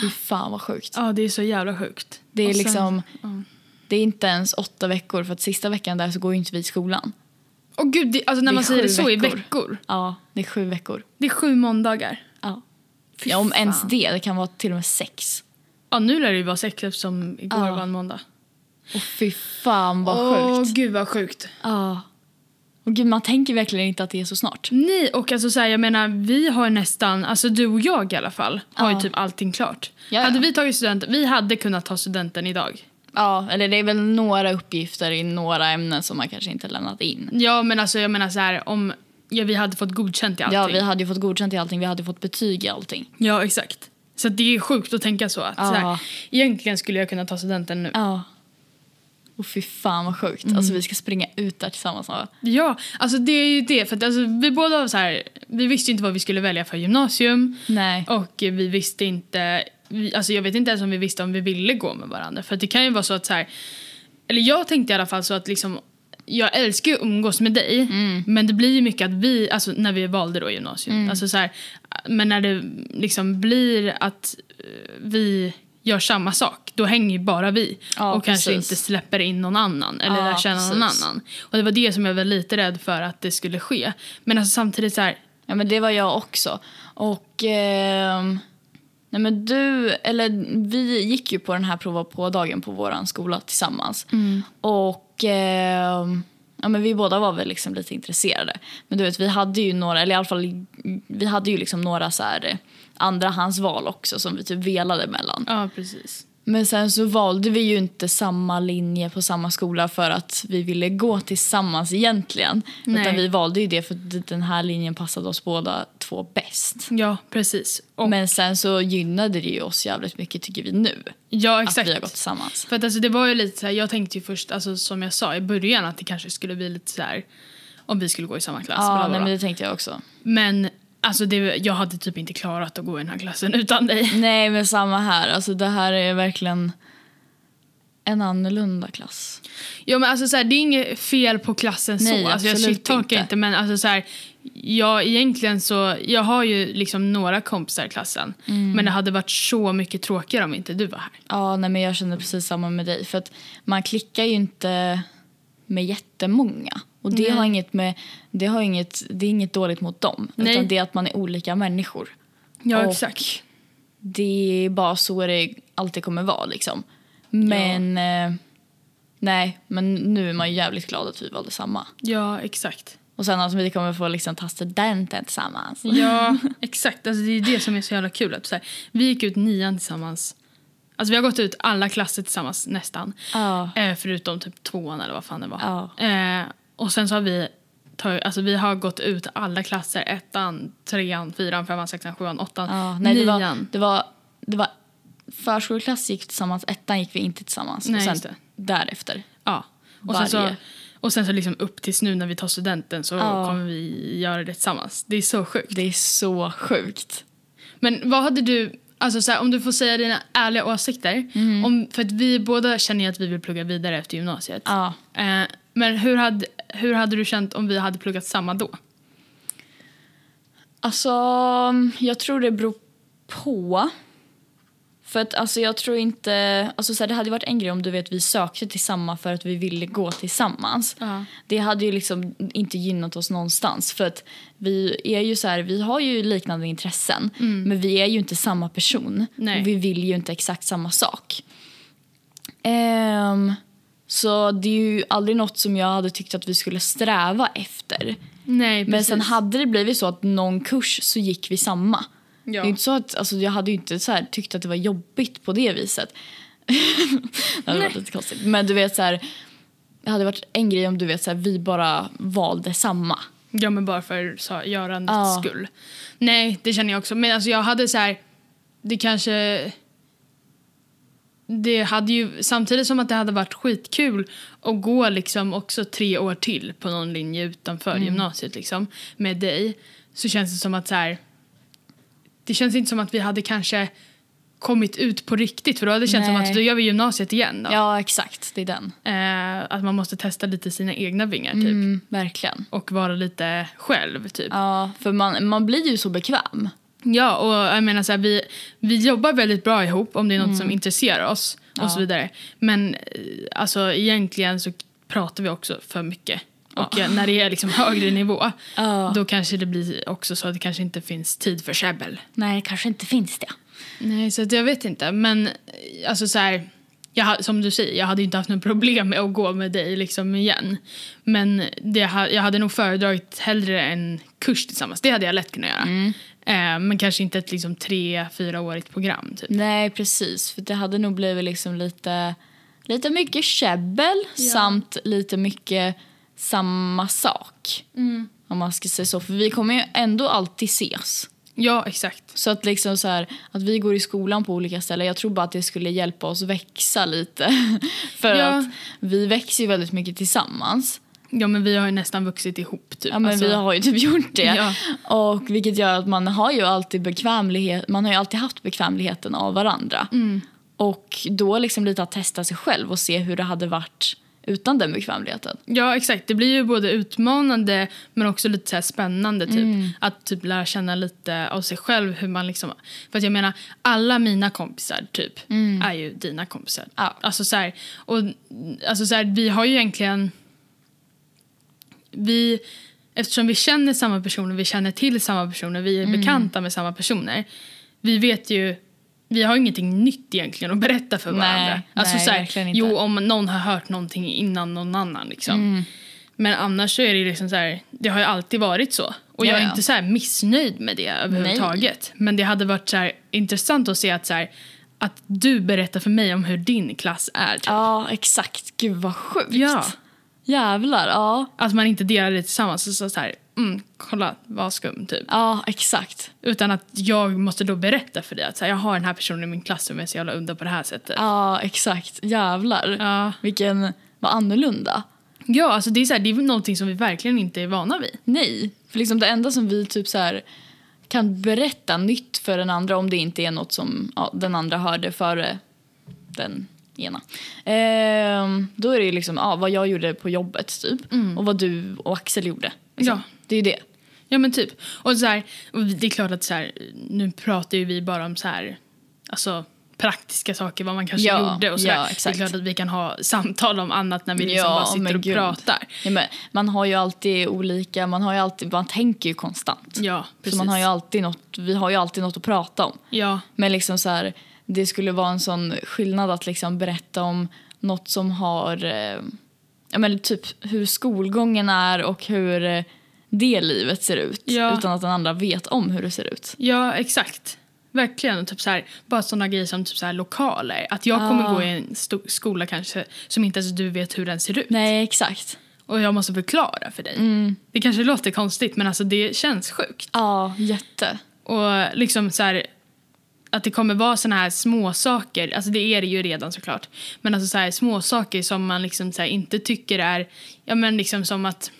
Fy fan vad sjukt.
Ja, det är så jävla sjukt.
Det är
Och sen-
liksom-
Ja.
Det är inte ens åtta veckor för att sista veckan där så går ju inte vi i skolan.
Åh gud, det, alltså
Det
när
är
man säger
sju
det så i
veckor.
veckor.
Ja, det är sju veckor.
Det är sju måndagar.
Ja.
Fy
ja, om
fan.
ens det. Det kan vara till och med sex.
Ja, nu lär det ju vara sex eftersom igår
Ja.
var en måndag.
Och fy fan vad
Åh
sjukt.
gud vad sjukt.
Ja. Och gud, man tänker verkligen inte att det är så snart.
Nej, och alltså så här, jag menar vi har nästan, alltså du och jag i alla fall, har
Ja.
ju typ allting klart.
Ja, ja.
Hade vi tagit studenten, vi hade kunnat ta studenten idag.
Ja, eller det är väl några uppgifter i några ämnen som man kanske inte lämnat in.
Ja, men alltså jag menar så här, om ja, vi hade fått godkänt i allting.
Ja, vi hade ju fått godkänt i allting. Vi hade ju fått betyg i allting.
Ja, exakt. Så att det är sjukt att tänka så. Att
Ja.
så här, egentligen skulle jag kunna ta studenten nu.
Ja. Och fy fan vad sjukt. Alltså vi ska springa ut där tillsammans. va?
Ja, alltså det är ju det. För att alltså, vi båda var så här, vi visste ju inte vad vi skulle välja för gymnasium.
Nej.
Och eh, vi visste inte, vi, alltså jag vet inte ens om vi visste om vi ville gå med varandra. För att det kan ju vara så att så här, eller jag tänkte i alla fall så att liksom, jag älskar ju att umgås med dig.
Mm.
Men det blir ju mycket att vi, alltså när vi valde då gymnasium. Alltså så här, men när det liksom blir att eh, vi gör samma sak, då hänger ju bara vi.
Ja,
och kanske
precis.
inte släpper in någon annan eller
Ja,
lär känna någon
precis.
annan. Och det var det som jag var lite rädd för att det skulle ske. Men alltså samtidigt så här,
Ja, men det var jag också. Och... ehm, nej, men du... Eller vi gick ju på den här prova på-dagen på vår skola tillsammans. Och... ehm, Ja, men vi båda var väl liksom lite intresserade. Men du vet, vi hade ju några, eller i alla fall, vi hade ju liksom några så här eh, andrahandsval också som vi typ velade mellan.
ja precis.
Men sen så valde vi ju inte samma linje på samma skola för att vi ville gå tillsammans egentligen. Utan
Nej.
vi valde ju det för att den här linjen passade oss båda två bäst.
Ja, precis. Och,
Men sen så gynnade det ju oss jävligt mycket tycker vi nu.
ja,
Att
exakt.
vi har gått tillsammans.
För att alltså, det var ju lite så här, jag tänkte ju först, alltså, som jag sa i början, att det kanske skulle bli lite så här om vi skulle gå i samma klass.
Ja,
bla, bla,
nej,
bla.
men det tänkte jag också.
Men alltså, det, jag hade typ inte klarat att gå i den här klassen
*laughs*
utan dig.
Nej, men samma här. Alltså det här är verkligen en annorlunda klass.
Ja, men alltså, så här, det är inget fel på klassen
Nej,
så. Alltså, jag
absolut
shit-talkar
inte.
inte. Men alltså, så här, jag, egentligen så, jag har ju liksom några kompisar i klassen.
Mm.
Men det hade varit så mycket tråkigare om inte du var här.
Ja, nej, men jag känner precis samma med dig. För att man klickar ju inte med jättemånga. Och det
Nej.
har inget med, det har inget, det är inget dåligt mot dem.
Nej.
Utan det är att man är olika människor.
Ja,
Och-
exakt.
Det är bara så det alltid kommer vara liksom. Men, eh, nej, men nu är man ju jävligt glad att vi valde samma.
Ja, exakt.
Och sen att vi kommer få liksom ta studenten tillsammans.
*laughs* Ja, exakt. Alltså, det är det som är så jävla kul. Att, så här, vi gick ut nian tillsammans. Alltså, vi har gått ut alla klasser tillsammans nästan.
Ja.
Eh, förutom typ tvåan eller vad fan det var.
Ja.
Eh, och sen så har vi, tagit, alltså, vi har gått ut alla klasser. Ettan, trean, fyran, femman, sexan, sjuan, åttan,
Ja, nej, det var,
nian.
det var, det var förskoleklass gick vi tillsammans, ettan gick vi inte tillsammans.
Nej,
och
just
sen
det.
därefter.
Ja. Och sen, så,
Varje.
och sen så liksom upp tills nu när vi tar studenten så
Ja.
kommer vi göra det tillsammans. Det är så sjukt.
Det är så sjukt.
Men vad hade du, alltså så här, om du får säga dina ärliga åsikter.
Mm.
Om, för att vi båda känner ju att vi vill plugga vidare efter gymnasiet.
Ja.
Eh, men hur hade, hur hade du känt om vi hade pluggat samma då?
Alltså, jag tror det beror på. För att alltså, jag tror inte... Alltså, så här, det hade varit en grej om du vet vi sökte till samma för att vi ville gå tillsammans.
Ja.
Det hade ju liksom inte gynnat oss någonstans. För att vi är ju så här, vi har ju liknande intressen men vi är ju inte samma person.
Mm. Nej.
Och vi vill ju inte exakt samma sak. Ehm, Så det är ju aldrig något som jag hade tyckt att vi skulle sträva efter.
Nej,
Men
precis.
sen hade det blivit så att någon kurs så gick vi samma. Det
ja.
är ju inte så att, alltså, jag hade ju inte så här, tyckt att det var jobbigt på det viset. *laughs* det hade varit lite konstigt. Men du vet så här, det hade varit en grej om du vet så här, vi bara valde samma.
ja, men bara för sa- görandets
Ja.
skull. Nej, det känner jag också. Men alltså, jag hade så här... Det kanske... Det hade ju, samtidigt som att det hade varit skitkul att gå liksom också tre år till på någon linje utanför
Mm.
gymnasiet liksom, med dig, så känns det som att så här, det känns inte som att vi hade kanske kommit ut på riktigt för då hade det känts som
Nej.
att då gör vi gymnasiet igen. Då.
Ja, exakt, det är den.
Eh, att man måste testa lite sina egna vingar typ.
Mm, verkligen.
och vara lite själv typ.
Ja, för man, man blir ju så bekväm.
Ja, och jag menar så här, vi, vi jobbar väldigt bra ihop om det är något som intresserar oss och
Mm. Ja.
så vidare. Men eh, alltså egentligen så pratar vi också för mycket. Och eh, när det är liksom högre nivå
Ja.
då kanske det blir också så att det kanske inte finns tid för käbbel.
Nej, det kanske inte finns det.
Nej, så att jag vet inte. Men eh, alltså så här, jag, ha- som du säger, jag hade ju inte haft något *laughs* problem med att gå med dig liksom igen. Men det, ha- jag hade nog föredragit hellre en kurs tillsammans. Det hade jag lätt kunnat göra.
Mm.
Eh, men kanske inte ett liksom tre, fyraårigt program typ.
Nej, precis. För det hade nog blivit liksom lite, lite mycket käbbel samt lite mycket samma sak. Om man ska säga så. För vi kommer ju ändå alltid ses.
Ja, exakt.
Så att liksom så här, att vi går i skolan på olika ställen, jag tror bara att det skulle hjälpa oss växa lite. *laughs* För
Ja.
att vi växer ju väldigt mycket tillsammans.
Ja, men vi har ju nästan vuxit ihop typ.
Ja, men
Alltså,
vi har ju typ gjort det.
Ja.
Och vilket gör att man har ju alltid bekvämlighet, man har ju alltid haft bekvämligheten av varandra. Och då liksom lite att testa sig själv och se hur det hade varit utan den bekvämligheten.
ja, exakt. Det blir ju både utmanande men också lite så här spännande typ. Att typ lära känna lite av sig själv hur man liksom... För att jag menar, alla mina kompisar typ är ju dina kompisar.
Ja.
Alltså så här, och alltså så här, vi har ju egentligen... vi, eftersom vi känner samma personer, vi känner till samma personer, vi
Mm.
är bekanta med samma personer. Vi vet ju, vi har ingenting nytt egentligen att berätta för
Nej,
varandra. Alltså
nej,
så här,
verkligen inte.
jo, om någon har hört någonting innan någon annan liksom.
Mm.
Men annars så är det ju liksom så här, det har ju alltid varit så. Och jag är
Ja, ja.
inte så här missnöjd med det överhuvudtaget. Men det hade varit så här intressant att se att så här, att du berättar för mig om hur din klass är. Typ.
Ja, exakt. Gud vad sjukt.
Ja.
Jävlar, ja.
Att man inte delar det tillsammans. Så, så, så här, mm, kolla vad skum typ.
Ja, exakt.
Utan att jag måste då berätta för dig att så här, jag har den här personen i min klass som är så jävla udda på det här sättet.
Ja, exakt. Jävlar.
Ja.
Vilken, vad annorlunda.
Ja, alltså det är, så här, det är någonting som vi verkligen inte är vana vid.
Nej, för liksom det enda som vi typ så här kan berätta nytt för den andra om det inte är något som ja, den andra hörde före den ena. Ehm, då är det ju liksom ja, vad jag gjorde på jobbet typ och vad du och Axel gjorde. Liksom.
Mm. Ja.
Det är ju det.
Ja men typ. Och, så här, och det är klart att så här, nu pratar ju vi bara om så här, alltså praktiska saker, vad man kanske
Ja,
gjorde och så
ja,
där. Det är
exakt.
klart att vi kan ha samtal om annat när vi liksom
Ja,
bara sitter
men
och
gud.
pratar.
Ja, men man har ju alltid olika, man har ju alltid, man tänker ju konstant.
Ja, precis.
Så man har ju alltid något, vi har ju alltid något att prata om.
Ja,
Men liksom så här, det skulle vara en sån skillnad att liksom berätta om något som har... Eh, ja, men typ hur skolgången är och hur eh, det livet ser ut
Ja.
utan att den andra vet om hur det ser ut.
Ja, exakt. Verkligen. Och Typ så här, bara såna grejer som typ så här, lokaler. Att jag kommer
Ah.
gå i en sto- skola kanske som inte ens du vet hur den ser ut.
Nej, exakt.
Och jag måste förklara för dig.
Mm.
Det kanske låter konstigt men alltså det känns sjukt.
Ja, jätte.
Och liksom så här, att det kommer vara såna här små saker. Alltså det är det ju redan såklart. Men alltså så här, små saker som man liksom så här, inte tycker är, ja men liksom som att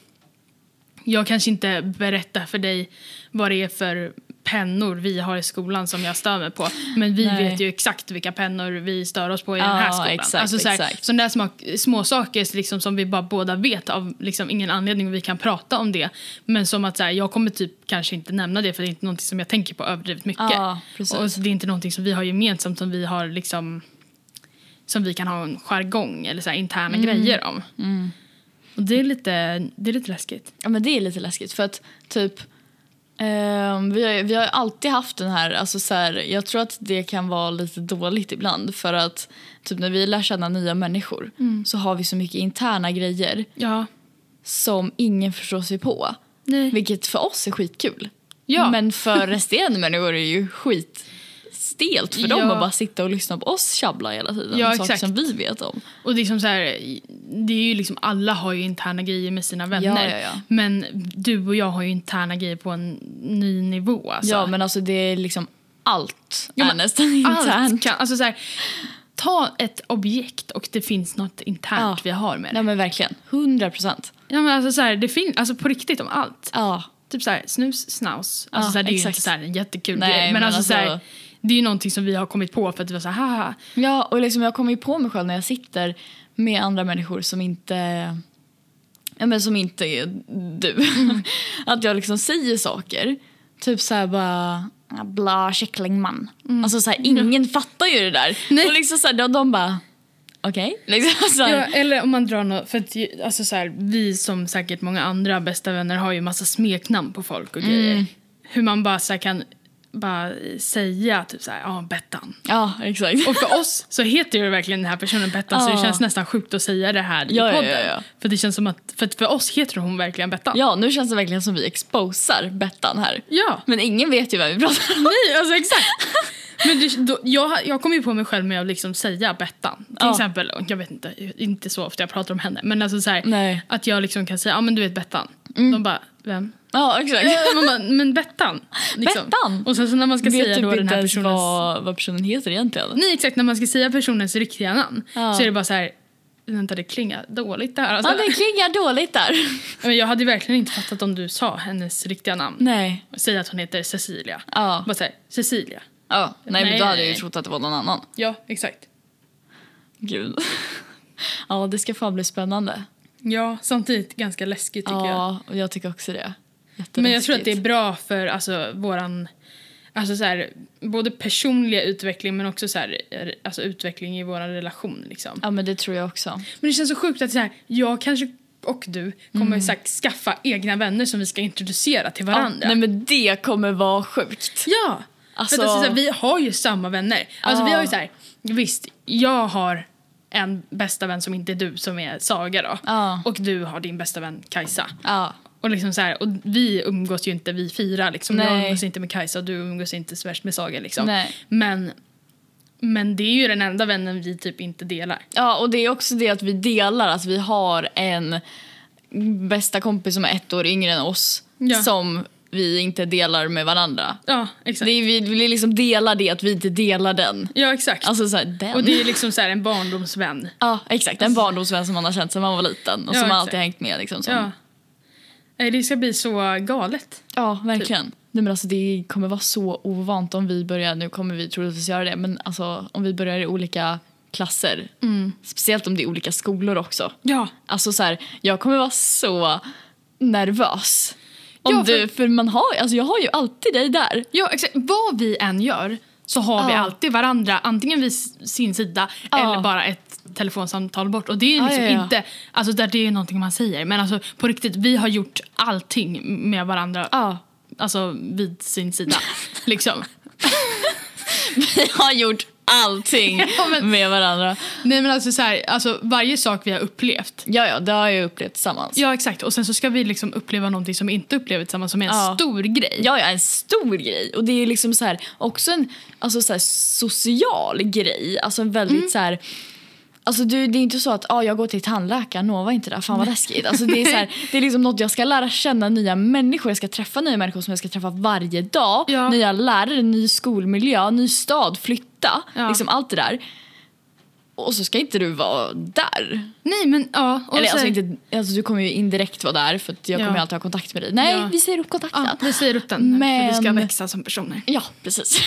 jag kanske inte berättar för dig vad det är för pennor vi har i skolan som jag stör mig på. Men vi
Nej.
vet ju exakt vilka pennor vi stör oss på i den
Ja,
här skolan.
exakt,
alltså så här,
exakt.
Sådana där smak- små saker liksom som vi bara båda vet av liksom ingen anledning och vi kan prata om det. Men som att så här, jag kommer typ kanske inte nämna det för det är inte någonting som jag tänker på överdrivet mycket.
Ja, precis.
och så det är inte någonting som vi har gemensamt som vi har liksom som vi kan ha en jargong eller så här interna
Mm.
grejer om. Och det är lite, det är lite läskigt.
Ja, men det är lite läskigt för att typ Ehm, vi, har, vi har alltid haft den här, alltså så här, jag tror att det kan vara lite dåligt ibland för att typ när vi lär känna nya människor så har vi så mycket interna grejer
Ja.
som ingen förstår sig på.
Nej.
Vilket för oss är skitkul.
Ja.
Men för resterande människor är det ju skitstelt för dem
Ja.
att bara sitta och lyssna på oss tjabbla hela tiden.
Ja,
saker
exakt.
som vi vet om.
Och det är, som så här, det är ju liksom, alla har ju interna grejer med sina vänner.
Ja, ja, ja.
Men du och jag har ju interna grejer på en ny nivå. Alltså.
Ja men alltså det är liksom allt
Ja,
är
men
nästan *laughs* internt.
Allt kan, alltså så här, ta ett objekt och det finns något internt
Ja.
vi har med
Nej
det.
men verkligen, 100 procent.
Ja, men alltså, så här, det finns alltså, på riktigt om allt.
Ja.
Typ så här, snus, snaus. Alltså,
Ja,
så här, det är ju
exakt.
inte så här, en jättekul
Nej,
grej. Men,
men
alltså, så här,
alltså-
det är ju någonting som vi har kommit på för att vi var så här, haha.
Ja, och liksom jag kommer ju på mig själv när jag sitter med andra människor som inte ja, men som inte är du. *laughs* att jag liksom säger saker. Typ så här bara "Ah, bla kycklingman. Alltså så här, *laughs* ingen fattar ju det där.
Nej.
Och liksom så här, de, de bara okej. Liksom så här,
Ja, eller om man drar något, för att ju- alltså så här, vi som säkert många andra bästa vänner har ju massa smeknamn på folk och grejer. Hur man bara så här, kan bara säga typ så här, ja, Bettan.
ja exakt.
Och för oss så heter ju verkligen den här personen Bettan så det
Ja.
känns nästan sjukt att säga det här i
Ja, ja,
podden.
ja, ja.
För det känns som att, för, att för oss heter hon verkligen Bettan.
ja, nu känns det verkligen som vi exposar Bettan här.
Ja.
Men ingen vet ju vem vi pratar om.
Nej, alltså exakt. Men det, då, jag, jag kom ju på mig själv med att liksom säga Bettan. Till
Ja.
exempel, och jag vet inte, inte så ofta jag pratar om henne, men alltså så här,
Nej. Mm.
att jag liksom kan säga, ja ah, men du vet Bettan. De bara, vem?
Ja, exakt.
Eh, Man bara, men Bettan. Liksom.
Bettan?
Och sen så när man ska
Vet
säga
typ
då den
inte
här
ens
personens...
vad, vad personen heter egentligen.
Nej exakt, när man ska säga personens riktiga namn
Ja.
så är det bara så här, vänta det klingar dåligt det här. Alltså,
Ja, det klingar dåligt där.
Men jag hade ju verkligen inte fattat om du sa hennes riktiga namn.
Nej.
Säg att hon heter Cecilia.
Ja.
Bara såhär, Cecilia.
Ja, nej, men
Nej,
då hade jag ju
nej.
trott att det var någon annan.
Ja, exakt.
Gud. *laughs* Ja, det ska fan bli spännande.
Ja, samtidigt ganska läskigt tycker jag.
Ja, och jag tycker också det.
Men jag tror att det är bra för alltså, våran... Alltså så här, både personliga utveckling men också så här, er- alltså, utveckling i vår relation. Liksom.
Ja, men det tror jag också.
Men det känns så sjukt att så här, jag kanske och du kommer så här, skaffa egna vänner som vi ska introducera till
Ja,
varandra.
nej, men det kommer vara sjukt.
Ja!
Alltså-
För att, alltså, så här, vi har ju samma vänner. Alltså,
Ja.
vi har ju så här, visst, jag har en bästa vän som inte är du, som är Saga. Då.
Ja.
Och du har din bästa vän Kajsa.
Ja,
Och, liksom så här, och vi umgås ju inte, vi fyra. Liksom. Jag
Nej.
umgås inte med Kajsa och du umgås inte så värst med Saga. Liksom.
Nej.
Men, men det är ju den enda vännen vi typ inte delar.
ja och det är också det att vi delar att vi har en bästa kompis som är ett år yngre än oss
Ja.
som vi inte delar med varandra.
Ja, exakt.
Det är, vi vill liksom dela det att vi inte delar den.
Ja, exakt.
Alltså så här, den.
och det är liksom så här, en barndomsvän.
Ja, exakt. En barndomsvän som man har känt sedan man var liten och
Alltså- Ja,
som man
exakt.
alltid har hängt med. Liksom, som,
Ja. Nej, Det ska bli så galet.
Ja, verkligen. Nej, men alltså, det kommer vara så ovant om vi börjar, nu kommer vi troligtvis göra det, men alltså, om vi börjar i olika klasser. Speciellt om det är olika skolor också.
Ja,
Alltså så här, jag kommer vara så nervös. Om
Ja, för-
Du, för man har, alltså, jag har ju alltid dig där.
Ja, exakt. Vad vi än gör så har vi
Ja.
alltid varandra, antingen vid s- sin sida
Ja.
eller bara ett telefonsamtal bort. Och det är
Ja,
liksom
ja, ja.
inte, alltså där det är någonting man säger, men alltså på riktigt, vi har gjort allting med varandra,
*laughs* Ja.
alltså vid
*laughs*
sin sida. liksom.
Vi har gjort allting
Ja, men-
med varandra.
Nej men alltså så här, alltså varje sak vi har upplevt.
Ja, ja, det har jag ju upplevt tillsammans.
Ja exakt, och sen så ska vi liksom uppleva någonting som vi inte upplevt tillsammans som är en
Ja.
stor grej.
Ja, ja, en stor grej. Och det är liksom så här, också en alltså så här, social grej. Alltså en väldigt
Mm.
så här... Alltså du, det är inte så att ah, jag går till tandläkaren, Nova var inte där, fan vad läskigt. Alltså, det, är
*laughs*
så här, det är liksom något jag ska lära känna nya människor, jag ska träffa nya människor som jag ska träffa varje dag.
Ja.
Nya lärare, ny skolmiljö, ny stad, flytta.
Ja.
Liksom allt det där. Och så ska inte du vara där.
Nej men ja. Och
Eller
så
alltså,
här-
inte, alltså du kommer ju indirekt vara där för att jag
Ja.
kommer ju alltid ha kontakt med dig. Nej,
Ja.
vi säger upp kontakten.
ja, vi säger upp den, för vi ska
Men-
växa som personer.
Ja, precis.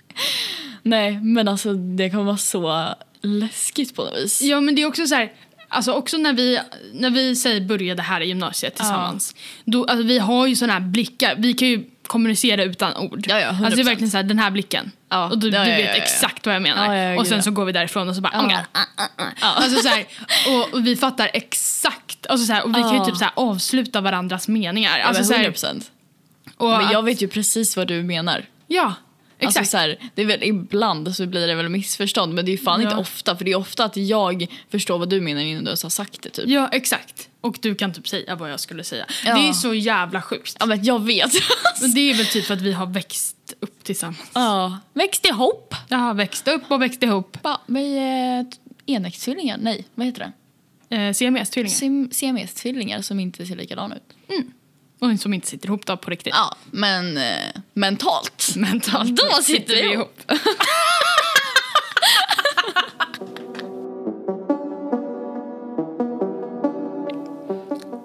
*laughs* Nej, men alltså det kommer vara så läskigt på något vis.
Ja, men det är också så här, alltså också när vi, när vi säger började här i gymnasiet tillsammans. Då, alltså vi har ju såna här blickar, vi kan ju kommunicera utan ord.
Ja, ja, 100%.
alltså det är verkligen så här, den här blicken.
Ja,
och du,
ja, ja,
du
ja,
vet
ja, ja.
exakt vad jag menar.
Ja, ja, ja,
och sen
gud,
så
ja. Ah,
går vi därifrån och så bara, oh my God. Alltså så här, och, och vi fattar exakt, alltså så här, och vi kan ju
Ja.
typ så här avsluta varandras meningar.
alltså,
Alltså så här,
100%.
Och
Men jag
att-
vet ju precis vad du menar.
Ja, exakt.
Alltså så här, det är väl ibland så blir det väl missförstånd men det är ju fan
Ja.
inte ofta för det är ofta att jag förstår vad du menar innan du ens har sagt det typ.
Ja, exakt. Och du kan typ säga vad jag skulle säga.
Ja.
Det är så jävla sjukt.
Ja men jag vet.
Men det är väl typ för att vi har växt upp tillsammans.
*laughs* ja. Växt ihop.
Jag har växt upp och växt ihop.
Ba, vi är enäggstvillingar, nej vad heter det?
Eh, CMS-tvillingar.
Sim- Siamestvillingar som inte ser likadana ut.
Och en som inte sitter ihop då på riktigt.
Ja men eh, *laughs* mentalt.
Mentalt.
Då sitter vi ihop.
*laughs*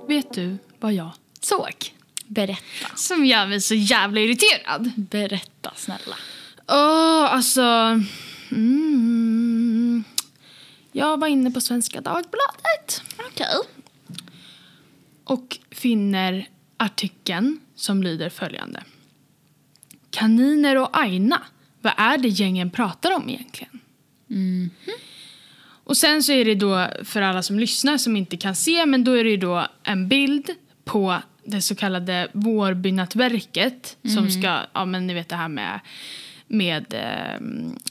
Vet du vad jag såg?
Berätta.
Som gör mig så jävla irriterad.
Berätta snälla.
Åh, alltså... Mm. Jag var inne på Svenska Dagbladet.
Okej.
och finner artikeln som lyder följande. Kaniner och aina, vad är det gängen pratar om egentligen? Och sen så är det då, för alla som lyssnar som inte kan se, men då är det ju då en bild på det så kallade Vårbynätverket som ska, ja men ni vet det här med med eh,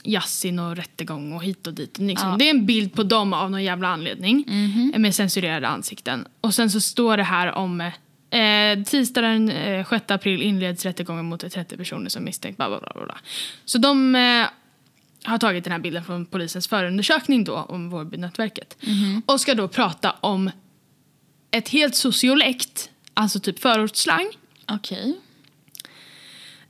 Yassin och rättegång och hit och dit. Liksom.
Ja.
Det är en bild på dem av någon jävla anledning eh, med censurerade ansikten. Och sen så står det här om eh, tisdagen den eh, 6 april inleds rättegången mot 30 personer som misstänkt bla bla bla. bla, bla. Så de eh, har tagit den här bilden från polisens förundersökning då om Vårbynätverket. Och ska då prata om ett helt sociolekt, alltså typ förortsslang.
Okej.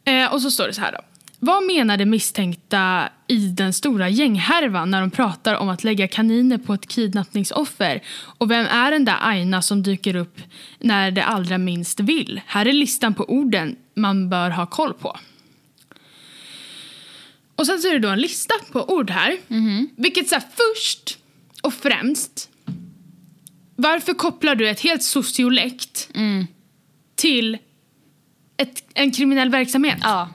Eh, och så står det så här då. Vad menar de misstänkta i den stora gänghärvan när de pratar om att lägga kaniner på ett kidnappningsoffer? Och vem är den där Aina som dyker upp när det allra minst vill? Här är listan på orden man bör ha koll på. Och sen så är det då en lista på ord här.
Mhm.
Vilket så här, först och främst, varför kopplar du ett helt sociolekt
Mm.
till ett, en kriminell verksamhet?
Ja.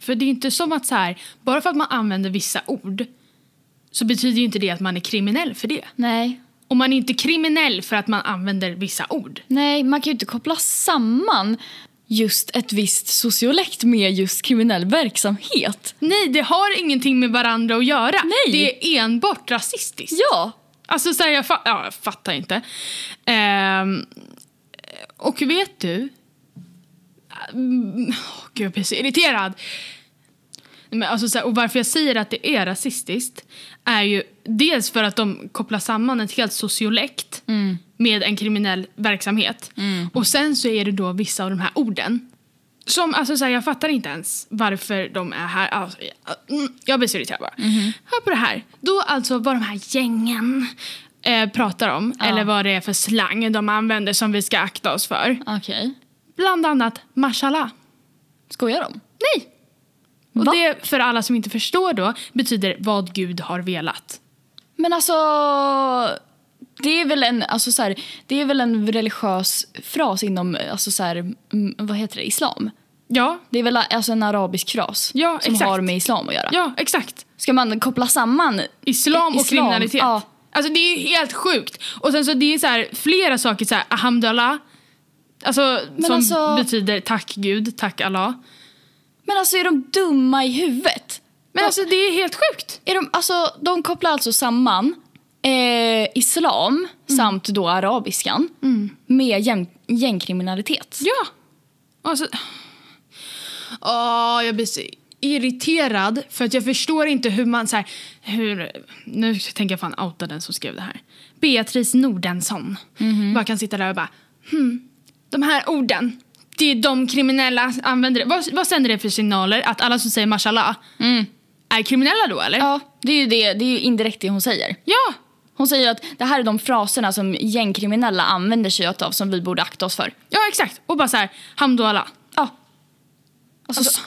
För det är ju inte som att så här, bara för att man använder vissa ord så betyder ju inte det att man är kriminell för det.
Nej.
Och man är inte kriminell för att man använder vissa ord.
Nej, man kan ju inte koppla samman just ett visst sociolekt med just kriminell verksamhet.
Nej, det har ingenting med varandra att göra.
Nej.
Det är enbart rasistiskt.
Ja!
Alltså så här, jag, fa- ja, jag fattar inte. Ehm, och vet du? Mm, åh, Gud, jag blir så irriterad. Men alltså, så här, och varför jag säger att det är rasistiskt är ju dels för att de kopplar samman ett helt sociolekt med en kriminell verksamhet. Och sen så är det då vissa av de här orden. Som, alltså så här, jag fattar inte ens varför de är här. Alltså, jag, mm, jag blir så irriterad bara. Hör på det här. Då alltså vad de här gängen eh, pratar om. Eller vad det är för slang de använder som vi ska akta oss för.
Okej.
Bland annat mashallah.
Skojar de?
Nej! Och
Va?
det, för alla som inte förstår då, betyder vad Gud har velat.
Men alltså... Det är, väl en, alltså så här, det är väl en religiös fras inom alltså så här, mm, vad heter det, islam?
Ja,
Det är väl alltså en arabisk fras
Ja,
som
exakt.
har med islam att göra.
ja exakt.
Ska man koppla samman?
Islam och
Islam,
kriminalitet.
ja.
Alltså det är ju helt sjukt. Och sen så det är så här, flera saker så här, alhamdulillah. Alltså som
alltså-
betyder tack Gud, tack Allah.
Men alltså är de dumma i huvudet?
Men alltså det är helt sjukt.
Är de, alltså, de kopplar alltså samman eh, islam
Mm.
samt då arabiskan med gäng, gängkriminalitet.
Ja. Alltså... Åh, jag blir så irriterad för att jag förstår inte hur man så här, hur, nu tänker jag fan outa den som skrev det här. Beatrice Nordensson bara kan sitta där och bara hmm, de här orden, det är de kriminella använder. Vad, vad sänder det för signaler att alla som säger mashallah är kriminella då eller?
Ja, det är ju, det, det är ju indirekt det hon säger.
ja.
Hon säger att det här är de fraserna som gängkriminella använder sig av som vi borde akta oss för.
Ja, exakt. Och bara så här, hamdu Allah.
Ja.
Alltså,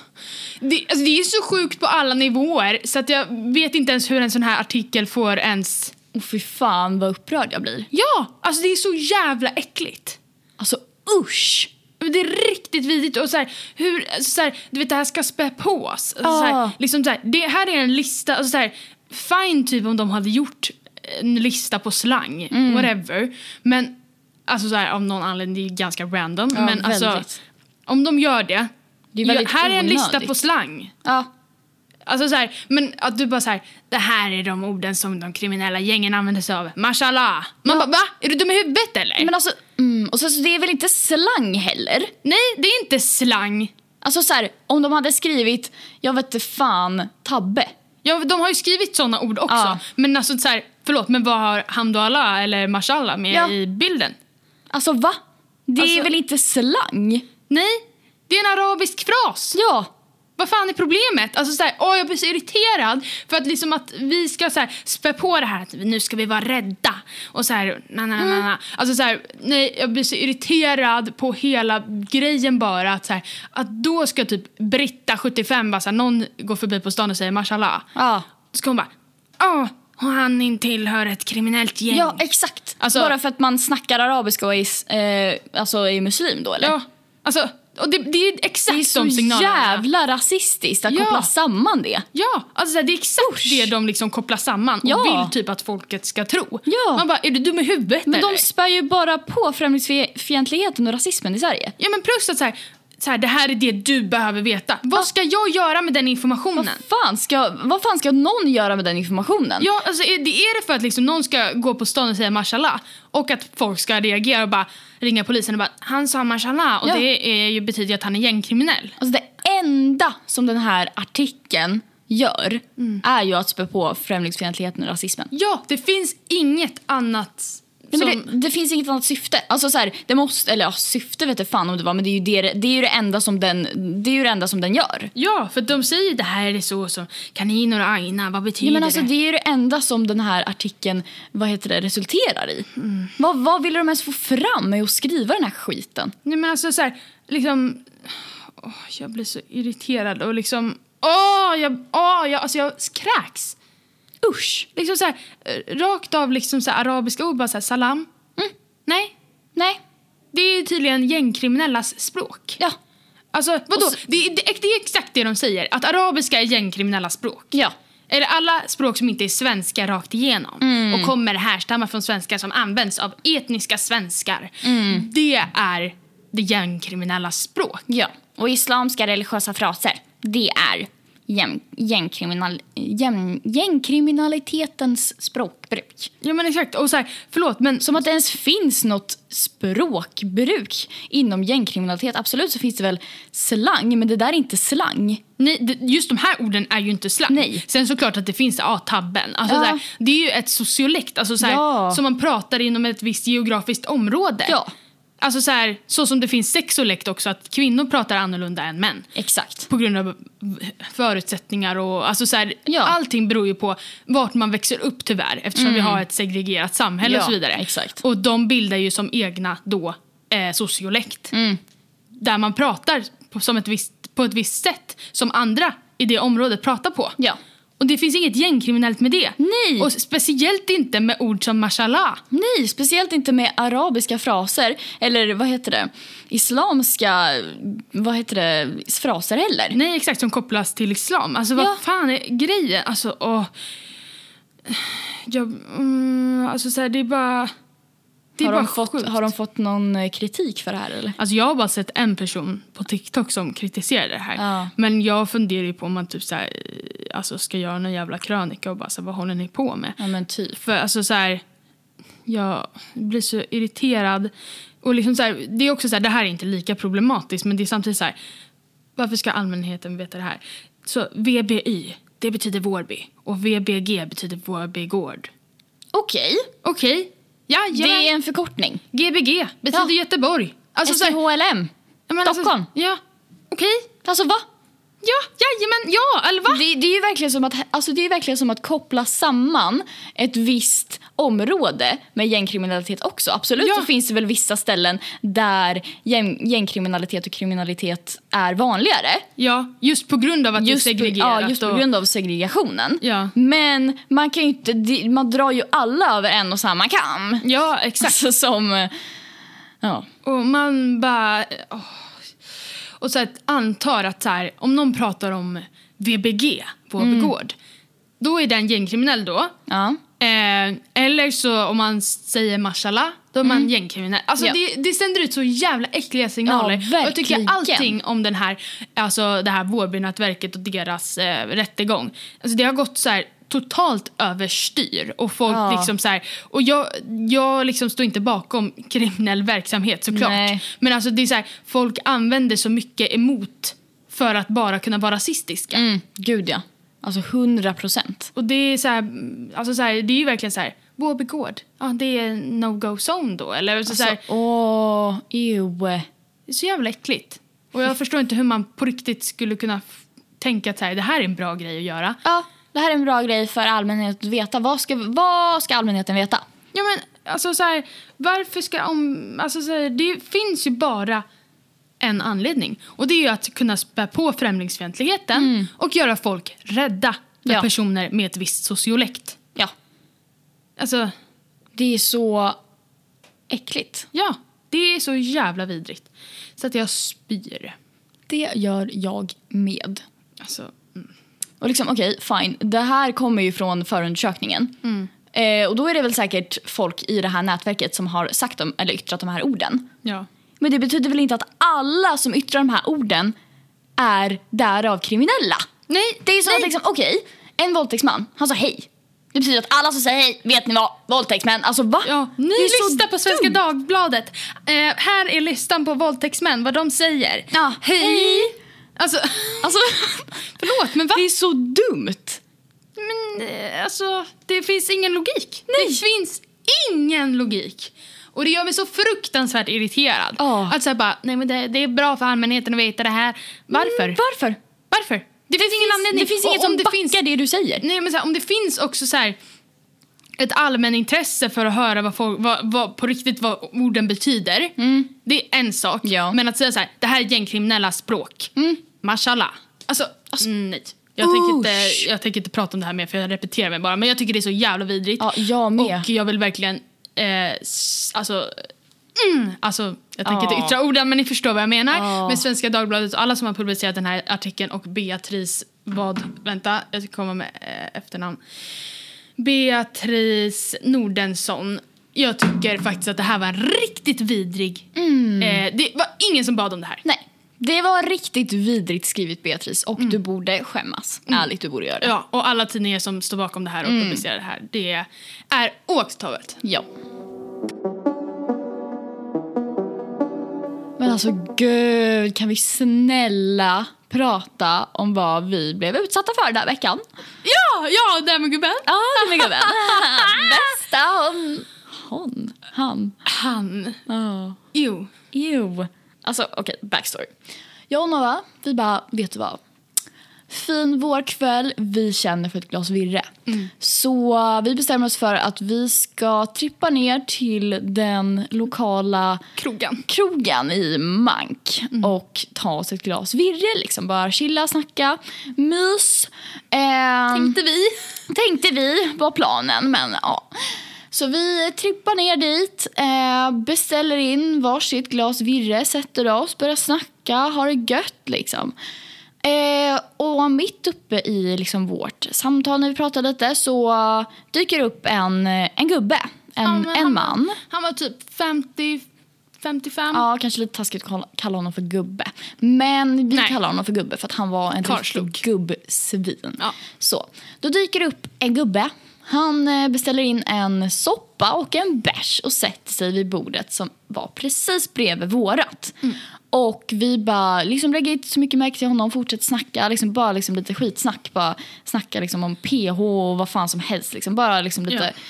det, alltså, det är så sjukt på alla nivåer så att jag vet inte ens hur en sån här artikel får ens...
Och fy fan vad upprörd jag blir.
Ja! Alltså det är så jävla äckligt.
Alltså usch!
Det är riktigt vidrigt. Och så här, hur, alltså, så här, du vet, det här ska spä på oss. Alltså, så här,
Ah.
liksom, så här, det här är en lista. Alltså, så här, fine typ om de hade gjort en lista på slang,
Mm.
whatever. Men alltså, så här, av någon anledning, det är ganska random.
Ja,
men alltså,
väldigt.
Om de gör det,
Det är väldigt
här är en lista
onödigt.
på slang.
Ja,
Alltså så här, men att du bara så här, det här är de orden som de kriminella gängen använder sig av. Mashallah. Man bara, va? Är du dum i huvudet eller?
men alltså, mm, och så, så det är väl inte slang heller?
Nej, det är inte slang.
Alltså så här, om de hade skrivit, jag vet inte fan, tabbe.
Ja, de har ju skrivit såna ord också.
Ja.
Men alltså så här, förlåt, men vad har Hamdallah eller Mashallah med
Ja.
i bilden?
Alltså va? Det är
Alltså-
väl inte slang?
Nej, det är en arabisk fras.
Ja,
Vad fan är problemet? Alltså så här, åh, jag blir så irriterad för att liksom att vi ska så här, spä på det här att nu ska vi vara rädda och så här na na na
Mm.
na. Alltså så här, nej, jag blir så irriterad på hela grejen bara att så här, att då ska typ Britta 75 bara så här, någon går förbi på stan och säger mashallah.
ja.
Ska hon bara, ja, och han in tillhör ett kriminellt gäng.
ja exakt.
Alltså-
Bara för att man snackar arabiska och är, s- eh, alltså är muslim då eller?
Ja, alltså, och det, det är
Det
exakt
är så
de signalerna.
jävla rasistiskt att
Ja.
koppla samman det.
Ja, alltså så här, det är exakt det de liksom kopplar samman och
Ja.
vill typ att folket ska tro.
Ja.
Man bara, är du dum i huvudet
Men
eller?
de spär ju bara på främlingsfientligheten och rasismen i Sverige.
Ja men plus att så här, så här, det här är det du behöver veta. Vad ska jag göra med den
Vad
informationen?
fan, ska, vad fan ska någon göra med den informationen?
Ja, alltså är det, är det för att liksom någon ska gå på stan och säga mashallah och att folk ska reagera och bara ringa polisen och bara han sa mashallah och
Ja.
det är ju betyder ju att han är gängkriminell.
Alltså det enda som den här artikeln gör är ju att spä på främlingsfientligheten och rasismen.
Ja, det finns inget annat
Nej,
som...
men det, det finns inget annat syfte. Alltså så här, det måste, eller ja, syfte vet jag fan om det var men det är ju det, det, är ju det, enda, som den, det är ju det enda som den gör.
Ja, för de säger det här är så som kaniner och aina, vad betyder
Ja, men alltså,
det?
det är ju det enda som den här artikeln vad heter det, resulterar i. Vad, vad ville de ens få fram med att skriva den här skiten?
Nej men alltså så här, liksom... Åh, jag blir så irriterad och liksom... Åh, jag, åh, jag, alltså jag kräks.
Usch!
Liksom så här, eh, rakt av liksom så här, arabiska ord, bara så här, salam. Nej,
Mm. Nej.
det är ju tydligen gängkriminellas språk.
Ja.
Alltså vadå?
Och så-
Det, är- det, är- det är exakt det de säger, att arabiska är gängkriminellas språk.
Ja.
Eller alla språk som inte är svenska rakt igenom och kommer härstamma från svenska som används av etniska svenskar. Det är det gängkriminella språk.
Ja, och islamska religiösa fraser, det är gäng, gängkriminal, gäng, gängkriminalitetens språkbruk.
Ja men exakt, och så här, förlåt men
Som att det ens finns något språkbruk inom gängkriminalitet. Absolut så finns det väl slang, men det där är inte slang.
nej, det- just de här orden är ju inte slang.
Nej.
Sen såklart att det finns ja, tabben. Alltså,
Ja.
så här, det är ju ett sociolekt alltså, så här,
Ja.
som man pratar inom ett visst geografiskt område.
Ja.
Alltså så, här, så som det finns sexolekt också, att kvinnor pratar annorlunda än män.
Exakt.
på grund av förutsättningar och alltså så här,
Ja.
allting beror ju på vart man växer upp tyvärr eftersom vi har ett segregerat samhälle och
Mm. Ja,
så vidare.
exakt.
Och de bildar ju som egna då eh, sociolekt
Mm.
där man pratar på, som ett visst, på ett visst sätt som andra i det området pratar på.
Ja.
Och det finns inget gängkriminellt med det.
Nej.
Och speciellt inte med ord som mashallah.
Nej, speciellt inte med arabiska fraser eller vad heter det? Islamska vad heter det? fraser heller.
Nej exakt, som kopplas till islam. Alltså vad
Ja.
fan är grejen? Alltså åh. Jag, mm, alltså så här, det är bara... Det är
Har
bara
de, fått,
sjukt.
har de fått någon eh, kritik för det här eller?
Alltså jag har bara sett en person på TikTok som kritiserar det här.
Ja.
Men jag funderar ju på om man typ så här, eh, alltså ska göra någon jävla krönika och bara så här, vad håller ni på med?
Ja men typ.
För alltså så här, jag blir så irriterad. Och liksom så här, det är också så här, det här är inte lika problematiskt men det är samtidigt så här, varför ska allmänheten veta det här? Så VBY, det betyder Vårby. Och VBG betyder Vårby gård.
Okej,
Okej, ja,
det är
ja.
en förkortning.
GBG betyder
Ja.
Göteborg. Alltså, så här-
SDHLM.
Ja, men
Stockholm.
Alltså, ja, okej.
Alltså va?
Ja, jajamän, ja, eller va?
Det, det är ju verkligen som att, alltså, det är ju verkligen som att koppla samman ett visst område med gängkriminalitet också. Absolut
Ja.
så finns det väl vissa ställen där gäng, gängkriminalitet och kriminalitet är vanligare.
Ja, just på grund av att det är
på,
segregerat.
ja, just på
och-
grund av segregationen.
Ja.
Men man kan ju inte, det- man drar ju alla över en och samma kam.
Ja, exakt.
Alltså som, eh, ja.
Och man bara... åh. Och så att antar att så här, om någon pratar om VBG, Vårby gård, då är den gängkriminell då.
ja.
Eh, eller så om man säger mashallah, då är man gängkriminell. Alltså
Mm. Ja.
det, det sänder ut så jävla äckliga signaler.
Ja,
jag tycker
verkligen.
allting om den här, alltså det här Vårbynätverket och deras eh, rättegång. Alltså det har gått så här totalt överstyr och folk
Ja.
liksom så här, och jag, jag liksom står inte bakom kriminell verksamhet såklart.
Nej.
Men alltså det är så här, folk använder så mycket emot för att bara kunna vara rasistiska.
Mm, gud ja. Alltså 100 procent.
Och det är så här, mm, alltså så här, det är ju verkligen så här, Vårby gård, ja det är no-go zone då eller? Så, så,
Alltså,
här,
åh, ew.
det är så jävla äckligt. Och jag förstår inte hur man på riktigt skulle kunna f- tänka att så här, det här är en bra grej att göra.
Ja, det här är en bra grej för allmänheten att veta. Vad ska, vad ska allmänheten veta?
Ja men alltså så här, varför ska om, alltså så här, det finns ju bara en anledning och det är ju att kunna spä på främlingsfientligheten och göra folk rädda för
Mm. Ja.
personer med ett visst sociolekt.
Ja,
Alltså,
det är så äckligt.
ja, det är så jävla vidrigt. Så att jag spyr.
Det gör jag med.
Alltså,
Och liksom, okej, fine. Det här kommer ju från förundersökningen. Eh, och då är det väl säkert folk i det här nätverket som har sagt dem, eller yttrat de här orden.
ja.
Men det betyder väl inte att alla som yttrar de här orden är därav kriminella?
Nej,
Det är som att liksom, okej, en våldtäktsman, han sa hej. Det betyder att alla som säger hej, vet ni vad, våldtäktsmän, alltså va?
Ja, ny
Det är så
lista på Svenska
dumt.
Dagbladet. Eh, här är listan på våldtäktsmän, vad de säger.
Ja,
Hej!
hej. Mm,
Alltså,
Alltså,
*laughs* förlåt men va?
det är så dumt.
Men eh, alltså, det finns ingen logik. Det finns ingen logik. Och det gör mig så fruktansvärt irriterad.
Ja.
Att så här bara, nej men det, det är bra för allmänheten att veta det här. Varför?
Mm, varför?
Varför? Det, finns ingen anledning.
Det finns
Och
inget
om
som
det
backar Mm.
finns-
det du säger.
Nej, men så här, om det finns också så här, ett allmänintresse för att höra vad, folk, vad, vad på riktigt vad orden betyder. Det är en sak.
Mm. Ja.
Men att säga så här, det här är gängkriminella språk. Mm. Mashallah. Alltså, nej. Jag tänker, inte,
Usch.
jag tänker inte prata om det här mer för jag repeterar mig bara. Men jag tycker det är så jävla vidrigt.
Ja, jag med.
Och jag vill verkligen, eh, s- alltså, mm, alltså jag tänker
Ja.
inte yttra orden men ni förstår vad jag menar.
Ja.
Med Svenska Dagbladet och alla som har publicerat den här artikeln och Beatrice vad, vänta, jag ska komma med eh, efternamn. Beatrice Nordensson. Jag tycker faktiskt att det här var en riktigt vidrig, eh, det var ingen som bad om det här.
Nej, det var riktigt vidrigt skrivet Beatrice och du borde skämmas. Ärligt, du borde göra det.
Ja, Mm. och alla tidningar som står bakom det här och publicerar det här, det är oacceptabelt.
Ja. Men alltså gud, kan vi snälla prata om vad vi blev utsatta för den här veckan?
Ja, ja, där med gubben.
Ja, det är min *laughs* vän. Bästa hon. Hon? Han?
Han.
Ja.
Jo.
Ew. Alltså okej, backstory. Jag och Nova, vi bara, vet du vad? Fin vårkväll, vi känner för ett glas virre. Så vi bestämmer oss för att vi ska trippa ner till den lokala
Krogen.
krogen i Mank
Mm.
och ta oss ett glas virre. Liksom. Bara chilla, snacka, mys. Ehm,
Tänkte vi.
tänkte vi var planen, men ja. Så vi trippar ner dit, eh, beställer in varsitt glas virre, sätter oss, börjar snacka, har det gött liksom. Eh, och mitt uppe i liksom, vårt samtal när vi pratar lite så dyker upp en, en gubbe, en,
men
en
han-
man.
Han var typ 50, 55.
Ja, kanske lite taskigt att kalla- kalla honom för gubbe. Men vi
Nej.
kallar honom för gubbe för att han var en riktig
Karlslok.
gubbsvin.
Ja.
Så, då dyker det upp en gubbe. Han eh, beställer in en soppa och en bärs och sätter sig vid bordet som var precis bredvid vårat.
Mm.
Och vi bara liksom lägger inte så mycket märke till honom, fortsätter snacka, liksom bara liksom lite skitsnack. Bara snacka liksom om PH och vad fan som helst. Liksom bara liksom lite
Ja.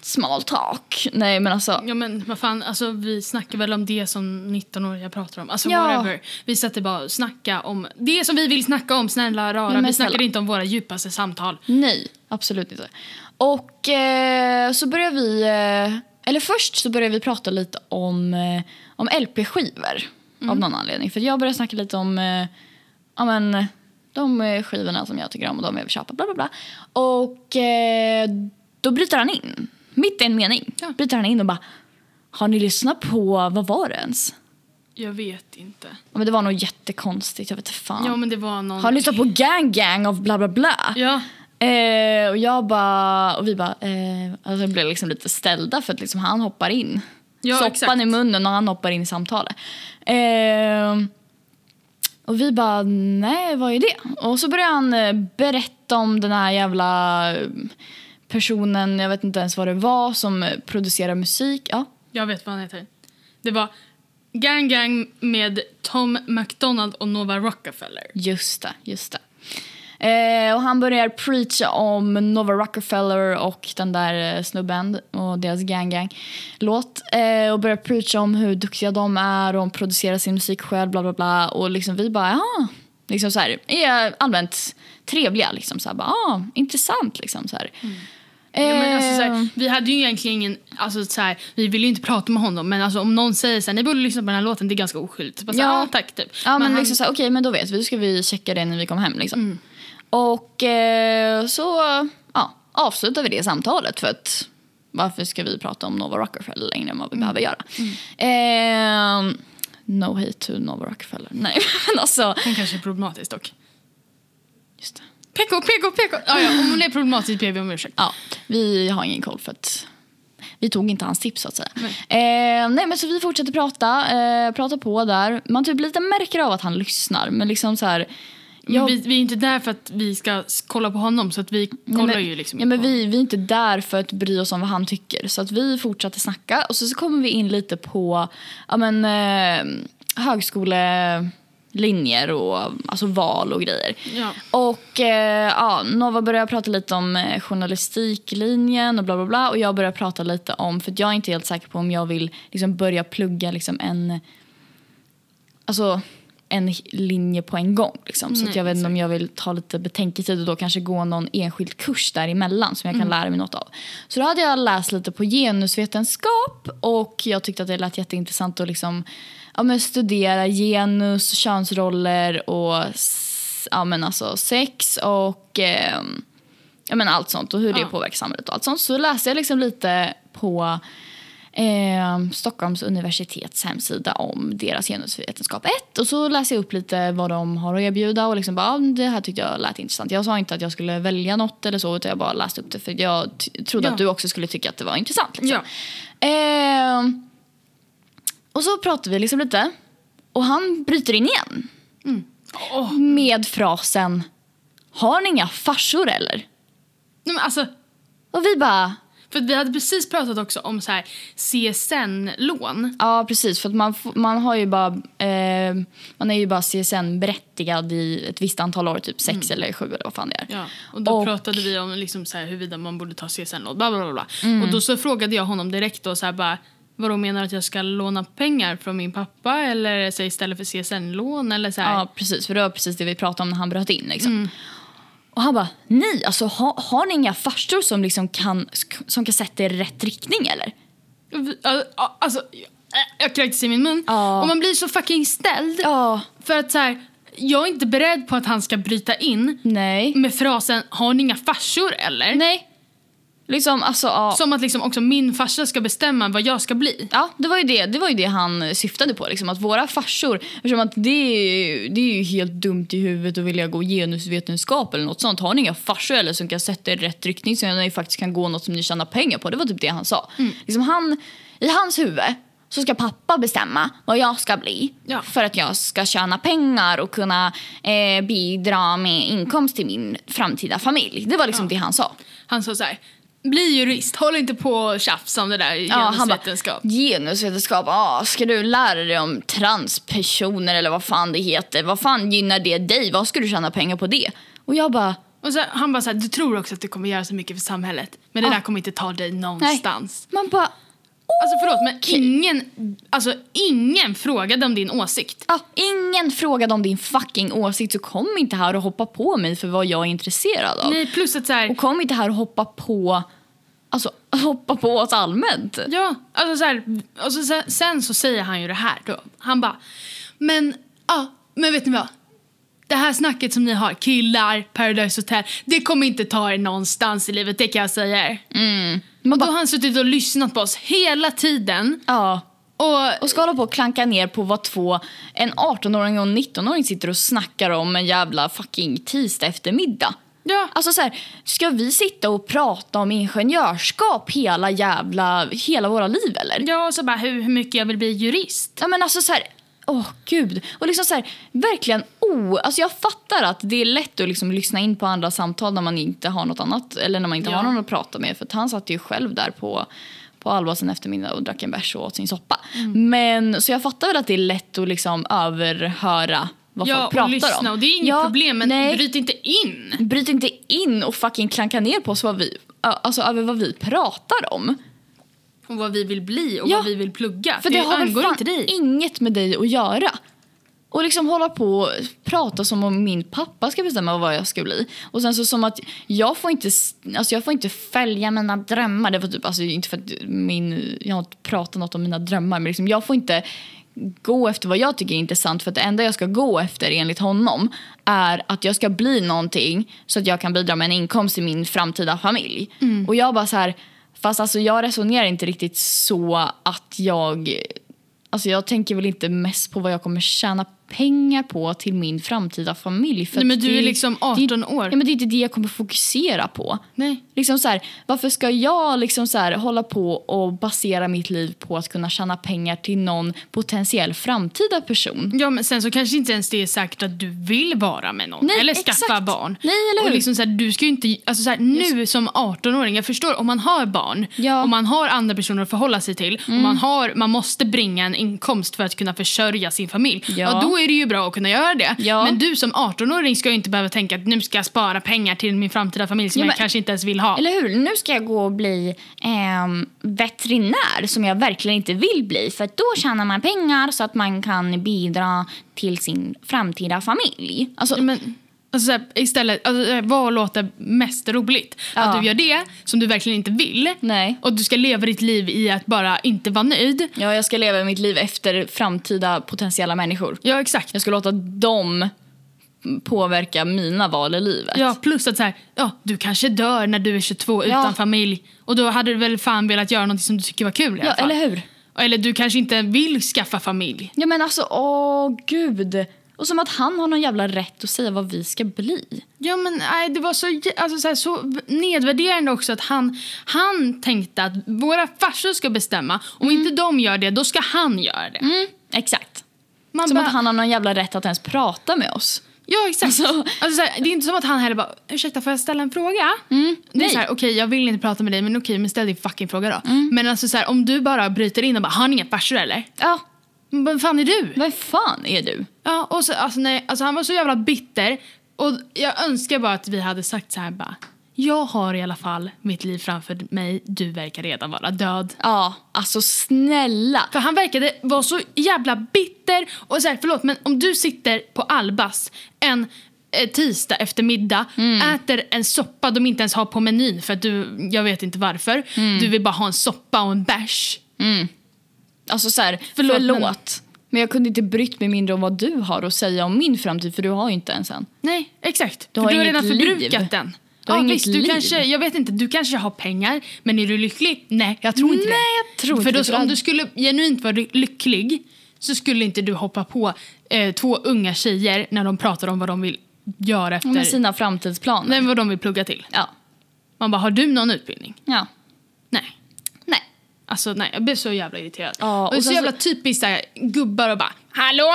small talk. Nej men alltså,
Ja men vad fan, alltså, vi snackar väl om det som 19-åriga pratar om. Alltså
Ja.
whatever. Vi satt bara och snackade om det som vi vill snacka om, snälla
Men
rara. vi
snälla.
snackade inte om våra djupaste samtal.
Nej, absolut inte. Och eh, så börjar vi... Eh, eller först så börjar vi prata lite om, eh, om LP-skivor
Mm.
av någon anledning. För jag började snacka lite om eh, ja, men, de eh, skivorna som jag tycker om och de jag vill köpa. Bla, bla, bla. Och eh, då bryter han in. Mitt i en mening
Ja.
bryter han in och bara Har ni lyssnat på, vad var det ens?
Jag vet inte.
Ja, men det var nog jättekonstigt, jag vet inte fan.
Ja men det var någon...
Har ni lyssnat på Gang Gang av bla bla bla?
Ja.
Eh, Eh, och jag bara, och vi bara, eh, alltså jag blev liksom lite ställda för att liksom han hoppar in.
Ja,
Soppan
exakt.
i munnen och han hoppar in i samtalet. Eh, och vi bara, nej vad är det? Och så börjar han eh, berätta om den här jävla eh, personen, jag vet inte ens vad det var, som eh, producerar musik. Ja,
Jag vet vad han heter. Det var Gang Gang med Tom McDonald och Nova Rockefeller.
Just det, just det. Eh, och han börjar preacha om Nova Rockefeller och den där eh, snubben och deras Gang Gang-låt. Eh, och börjar preacha om hur duktiga de är och de producerar sin musik själv, bla bla bla. Och liksom vi bara, ja. Liksom så här, är allmänt trevliga liksom. Så här, bara, ah, intressant liksom så här.
Ja, men alltså,
Eh,
så här, vi hade ju egentligen ingen, alltså, så här, vi ville ju inte prata med honom men alltså, om någon säger så här, ni borde lyssna på den här låten, det är ganska oskyldigt. Så Bara, ja.
Ja.
ah, tack typ.
Ja men,
han- Mm.
liksom såhär, okej men då vet vi, då ska vi checka det när vi kommer hem liksom. Och eh, så ja, avslutar vi det samtalet för att varför ska vi prata om Nova Rockefeller längre än vad
Mm.
vi behöver göra? Ehm, no hate to Nova Rockefeller. Nej *laughs* men alltså,
Hon kanske är problematisk dock.
just det.
PK, PK, PK! Ah, ja, om hon är problematisk ber vi om ursäkt.
Ja, vi har ingen koll för att vi tog inte hans tips så att säga.
Nej.
Eh, nej men så vi fortsätter prata, eh, prata på där. Man typ lite märker av att han lyssnar men liksom så här.
Men Vi, vi är inte där för att vi ska s- kolla på honom så att vi kollar
Nej, men,
ju liksom
ja,
inte
men
på
vi, vi är inte där för att bry oss om vad han tycker. Så att vi fortsatte snacka och så, så kommer vi in lite på ja, men, eh, högskolelinjer och alltså val och grejer.
Ja.
Och eh, ja, Nova började prata lite om eh, journalistiklinjen och bla bla bla och jag började prata lite om, för att jag är inte helt säker på om jag vill liksom, börja plugga liksom, en alltså, en h- linje på en gång. Liksom. Så
Nej,
att jag vet inte om jag vill ta lite betänketid och då kanske gå någon enskild kurs däremellan som jag kan lära mig något av. Så då hade jag läst lite på genusvetenskap och jag tyckte att det lät jätteintressant att liksom, ja, men studera genus, könsroller och s- ja, men alltså sex och ehm, ja, men allt sånt och hur det
Ja.
påverkar samhället och allt sånt. Så läste jag liksom lite på eh, Stockholms universitets hemsida om deras genusvetenskap 1 och så läste jag upp lite vad de har att erbjuda och liksom bara, "Ah, det här tyckte jag lät intressant. Jag sa inte att jag skulle välja något eller så utan jag bara läste upp det för jag t- trodde
Ja.
att du också skulle tycka att det var intressant. Liksom.
Ja.
Eh, och så pratade vi liksom lite och han bryter in igen
Åh,
med frasen Har ni inga farsor eller?
Nej, men alltså,
Och vi bara
för vi hade precis pratat också om så här CSN-lån.
Ja, precis. För att man, f- man, har ju bara, eh, man är ju bara CSN-berättigad i ett visst antal år, typ sex eller sju eller vad fan det är.
Mm. Ja, och då
Och-
pratade vi om liksom så här, huruvida man borde ta CSN-lån. Bla, bla, bla, bla.
Mm.
Och då så frågade jag honom direkt då så här bara Vadå menar du att jag ska låna pengar från min pappa eller så här, istället för CSN-lån eller så här? Mm.
Ja, precis. För det var precis det vi pratade om när han bröt in. Liksom. Och han bara, nej, alltså ha, har ni inga farsor som, liksom kan, sk- som kan sätta er i rätt riktning eller?
Vi- ja, ja, Alltså, jag- jag kräktes i min mun.
Ja.
Och man blir så fucking ställd.
Ja,
För att så här, jag är inte beredd på att han ska bryta in
nej.
med frasen “Har ni inga farsor eller?”
Nej. Liksom, alltså, ja.
Som att liksom också min farsa ska bestämma vad jag ska bli.
Ja, det var ju det, det, var ju det han syftade på. Liksom, att våra farsor, eftersom att det, är ju- det är ju helt dumt i huvudet att vilja gå genusvetenskap eller något sånt. Har ni inga farsor eller som kan sätta er i rätt riktning så ni faktiskt kan gå något som ni tjänar pengar på? Det var typ det han sa. Liksom, han, I hans huvud så ska pappa bestämma vad jag ska bli
Ja.
för att jag ska tjäna pengar och kunna eh, bidra med inkomst till min framtida familj. Det var liksom det han sa.
Han sa så här, “Bli jurist, håll inte på och tjafs om det där genusvetenskap”.
Bara, genusvetenskap, ah, ska du lära dig om transpersoner eller vad fan det heter? Vad fan gynnar det dig? Vad ska du tjäna pengar på det? Och jag bara,
och så, han bara så här, “Du tror också att du kommer göra så mycket för samhället, men det
Ja.
där kommer inte ta dig
Ah. nej.
någonstans”.
Man bara,
Alltså förlåt, men ingen, alltså, ingen frågade om din åsikt.
ah, ingen frågade om din fucking åsikt så kom inte här och hoppa på mig för vad jag är intresserad av.
Nej, plus att så här,
Och kom inte här och hoppa på, alltså *laughs* hoppa på oss allmänt.
Ja, alltså så här, och så, sen, sen så säger han ju det här då. Han bara, men ja, men vet ni vad? Det här snacket som ni har, killar, Paradise Hotel, det kommer inte ta er någonstans i livet, det kan jag säga er.
Mm. Man
Och då
bara,
har han suttit och lyssnat på oss hela tiden.
ja.
Och,
Och ska hålla på och klanka ner på vad två, en 18-åring och en 19-åring sitter och snackar om en jävla fucking tisdag eftermiddag.
Ja.
Alltså så här, ska vi sitta och prata om ingenjörskap hela jävla, hela våra liv eller?
Ja, och så bara hur, hur mycket jag vill bli jurist.
Ja men alltså så här, åh gud. Och liksom så här, verkligen o... Alltså jag fattar att det är lätt att liksom lyssna in på andra samtal när man inte har något annat, eller när man inte
Ja.
har någon att prata med. För att han satt ju själv där på, på Alva sin eftermiddag och drack en bärs och åt sin soppa.
Mm.
Men så jag fattar väl att det är lätt att liksom överhöra vad
Ja,
folk
och
pratar
lyssna.
om.
Och det är inget
Ja,
problem, men
nej.
bryt inte in.
Bryt inte in och fucking klanka ner på oss vad vi, alltså, över vad vi pratar om.
Och vad vi vill bli och
Ja.
vad vi vill plugga.
För det, har väl
angår
fan
inte dig.
inget med dig att göra. Och liksom hålla på och prata som om min pappa ska bestämma vad jag ska bli. Och sen så som att jag får inte, s- alltså jag får inte följa mina drömmar. Det var typ, alltså inte för att min, jag har inte pratat något om mina drömmar men liksom jag får inte gå efter vad jag tycker är intressant för att det enda jag ska gå efter enligt honom är att jag ska bli någonting så att jag kan bidra med en inkomst i min framtida familj. Och jag bara så här, fast alltså jag resonerar inte riktigt så att jag Alltså jag tänker väl inte mest på vad jag kommer tjäna pengar på till min framtida familj. För
Nej,
att
men du
det
är liksom 18 år.
Ja, men det är inte det jag kommer fokusera på.
Nej.
Liksom så här, varför ska jag liksom så här, hålla på och basera mitt liv på att kunna tjäna pengar till någon potentiell framtida person?
Ja, men sen så kanske inte ens det är säkert att du vill vara med någon
Nej,
eller skaffa
exakt.
barn.
Nej, eller
Och
hur?
liksom så här, du ska ju inte, alltså så här, nu som 18-åring, jag förstår om man har barn,
Ja. Mm.
om man har andra personer att förhålla sig till, om man, har, man måste bringa en inkomst för att kunna försörja sin familj, ja.
Ja.
då är det ju bra att kunna göra det.
Ja.
Men du som 18-åring ska ju inte behöva tänka att nu ska jag spara pengar till min framtida familj som
Ja,
jag
men-
kanske inte ens vill ha.
Eller hur? Nu ska jag gå och bli ehm, veterinär som jag verkligen inte vill bli för att då tjänar man pengar så att man kan bidra till sin framtida familj. Alltså,
Ja, Men, alltså, så här, istället, alltså, så här, vad låter mest roligt?
Ja.
Att du gör det som du verkligen inte vill
Nej.
och du ska leva ditt liv i att bara inte vara nöjd.
Ja, jag ska leva mitt liv efter framtida potentiella människor.
Ja, exakt.
Jag ska låta dem påverka mina val i livet.
Ja, plus att så här, ja, du kanske dör när du är 22
Ja.
utan familj och då hade du väl fan velat göra något som du tycker var kul i
Ja,
alla fall.
eller hur?
Eller du kanske inte vill skaffa familj.
Ja, men alltså, åh gud. Och som att han har någon jävla rätt att säga vad vi ska bli.
Ja men nej, det var så, jä- alltså, så, här, så v- nedvärderande också att han, han tänkte att våra farsor ska bestämma. Om inte de gör det, då ska han göra det.
Mm, exakt.
Man
Som
bara-
att han har någon jävla rätt att ens prata med oss.
Ja, exakt. Alltså,
Alltså-
så här, det är inte som att han heller bara, ursäkta får jag ställa en fråga? Det är
nej.
så här, okej jag vill inte prata med dig men okej men ställ din fucking fråga då. Men alltså så här, om du bara bryter in och bara, har ni inga farsor eller?
Ja,
Men Vem fan är du?
vem fan är du?
Ja, och så, alltså, nej, alltså han var så jävla bitter och jag önskar bara att vi hade sagt så här bara, jag har i alla fall mitt liv framför mig, du verkar redan vara död.
Ja, alltså snälla.
För han verkade vara så jävla bitter. Och så här, förlåt, men om du sitter på Albas en eh, tisdag eftermiddag,
Mm.
äter en soppa de inte ens har på menyn för att du, jag vet inte varför,
Mm.
du vill bara ha en soppa och en bärs.
Alltså så här,
Förlåt,
förlåt. Men... jag kunde inte brytt mig mindre om vad du har att säga om min framtid för du har ju inte ens en.
Nej, exakt.
Du
för
har
du har
inget
redan förbrukat
liv.
den.
Du har
ja,
inget
visst, du
liv.
kanske, jag vet inte, du kanske har pengar, men är du lycklig? Nej, jag tror inte det.
Nej, jag tror
För
inte
då,
det.
om du skulle genuint vara ly- lycklig så skulle inte du hoppa på eh, två unga tjejer när de pratar om vad de vill göra efter
Med sina framtidsplaner.
Nej, vad de vill plugga till.
Ja.
Man bara, har du någon utbildning?
ja.
Nej.
Nej.
Alltså nej, jag blev så jävla irriterad.
Ja,
och,
och
det är så
sen så-
jävla typiskt så här, gubbar och bara, hallå!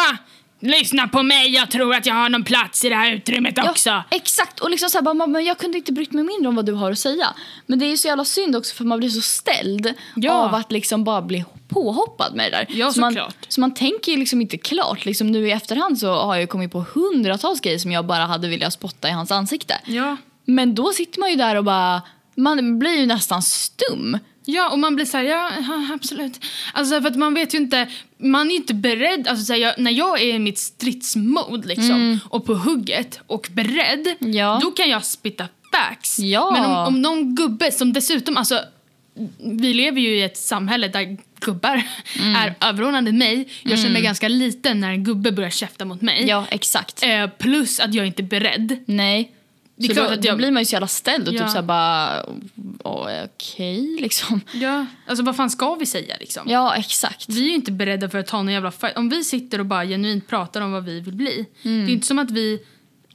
Lyssna på mig, jag tror att jag har någon plats i det här utrymmet också.
Ja, exakt. Och liksom så här, bara, mamma, jag kunde inte brytt mig mindre om vad du har att säga. Men det är ju så jävla synd också för man blir så ställd
Ja.
av att liksom bara bli påhoppad med det där.
Ja,
så, man,
såklart.
så man tänker ju liksom inte klart. Liksom nu i efterhand så har jag ju kommit på hundratals grejer som jag bara hade velat spotta i hans ansikte.
Ja.
Men då sitter man ju där och bara, man blir ju nästan stum.
Ja, och man blir så här, ja, ja absolut. Alltså för att man vet ju inte, man är ju inte beredd. Alltså så här, jag, när jag är i mitt stridsmode liksom och på hugget och beredd,
Mm. Ja.
då kan jag spitta facts.
Ja.
Men om, om någon gubbe som dessutom, alltså vi lever ju i ett samhälle där gubbar
Mm.
är överordnade mig. Jag känner mig ganska liten när en gubbe börjar käfta mot mig.
Ja, exakt.
Eh, plus att jag inte är beredd.
Nej.
Det är
så
klart
då,
att jag-
då blir man ju så jävla ställd och
Ja.
typ såhär bara, "Åh, okej liksom.
Ja. Alltså vad fan ska vi säga liksom?
Ja, exakt.
Vi är ju inte
Mm.
beredda för att ta någon jävla fight. Om vi sitter och bara genuint pratar om vad vi vill bli. Det är ju inte som att vi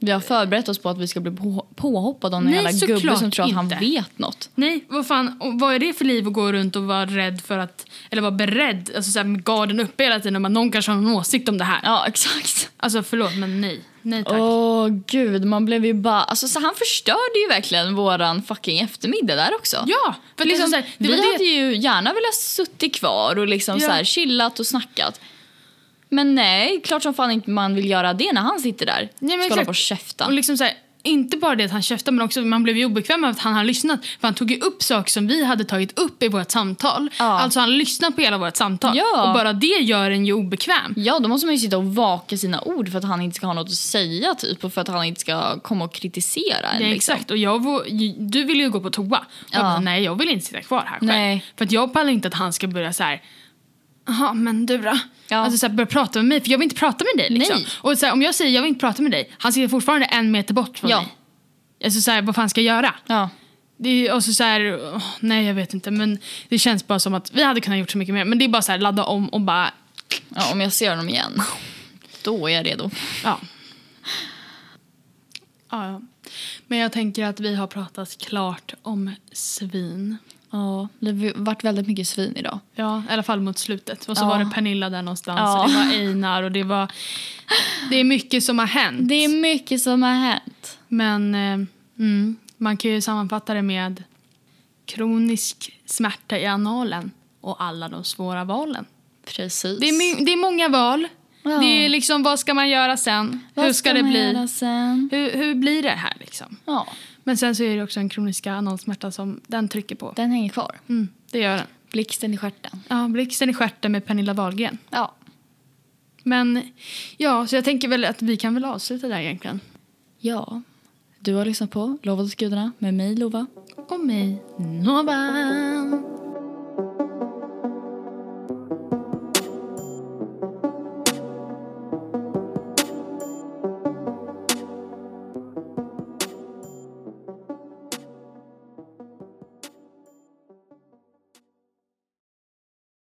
Vi har förberett oss på att vi ska bli på- påhoppade av någon
Nej,
jävla
såklart
gubbe som tror att han
inte.
vet något.
Nej,
Vad fan, och vad är det för liv att gå runt och vara rädd för att... Eller vara beredd, alltså såhär med garden uppe hela tiden om att någon kanske har en åsikt om det här.
Ja, *laughs* exakt.
Alltså förlåt, men nej. Nej tack.
Åh gud, man blev ju bara... Alltså, så han förstörde ju verkligen våran fucking eftermiddag där också.
Ja! För
För liksom,
liksom, så här, det
vi
var det
hade ju gärna velat suttit kvar och liksom
Ja.
så här, chillat och snackat. Men nej, klart som fan inte man vill göra det när han sitter där.
Nej, men
Ska hålla
exakt.
på och käfta.
Och liksom så här, inte bara det att han käftade men också man blev ju obekväm av att han har lyssnat. För han tog ju upp saker som vi hade tagit upp i vårt samtal.
Ja.
Alltså han lyssnar på hela vårt samtal.
Ja.
Och bara det gör en ju obekväm.
Ja, då måste man ju sitta och vaka sina ord för att han inte ska ha något att säga typ och för att han inte ska komma och kritisera en.
Ja,
liksom.
exakt. Och jag, vå- ju- du ville ju gå på toa. Och jag
Ja.
bara, nej jag vill inte sitta kvar här själv.
Nej.
För att jag pallar inte att han ska börja så här. Jaha, men du då?
Ja.
Alltså så här, börja prata med mig, för jag vill inte prata med dig. Liksom.
Nej.
Och så här, om jag säger jag vill inte prata med dig, han sitter fortfarande en meter bort från
Ja.
mig. Alltså så här, vad fan ska jag göra?
Ja.
Det är också så här, åh, nej jag vet inte men det känns bara som att vi hade kunnat gjort så mycket mer men det är bara så här ladda om och bara,
ja, om jag ser honom igen, då är jag redo.
ja. ja. ja. Men jag tänker att vi har pratat klart om svin.
Ja, det har varit väldigt mycket svin idag.
Ja, i alla fall mot slutet. Och så
Ja.
var det Pernilla där någonstans
Ja.
och det var Einar och det var, det är mycket som har hänt.
Det är mycket som har hänt.
Men eh, mm, man kan ju sammanfatta det med kronisk smärta i analen och alla de svåra valen.
Precis.
Det är, my- det är många val.
Ja.
Det är liksom, vad ska man göra sen?
Vad
hur ska, det
man
bli?
göra sen?
Hur, hur blir det här liksom?
Ja,
Men sen så är det också en kroniska analsmärta som den trycker på.
den hänger kvar.
Mm, det gör den.
Blixten i stjärten.
Ja, blixten i stjärten med Pernilla Wahlgren.
Ja.
Men ja, så jag tänker väl att vi kan väl avsluta där egentligen.
Ja. Du har lyssnat på Lovat åt gudarna med mig, Lova.
Och mig, Nova.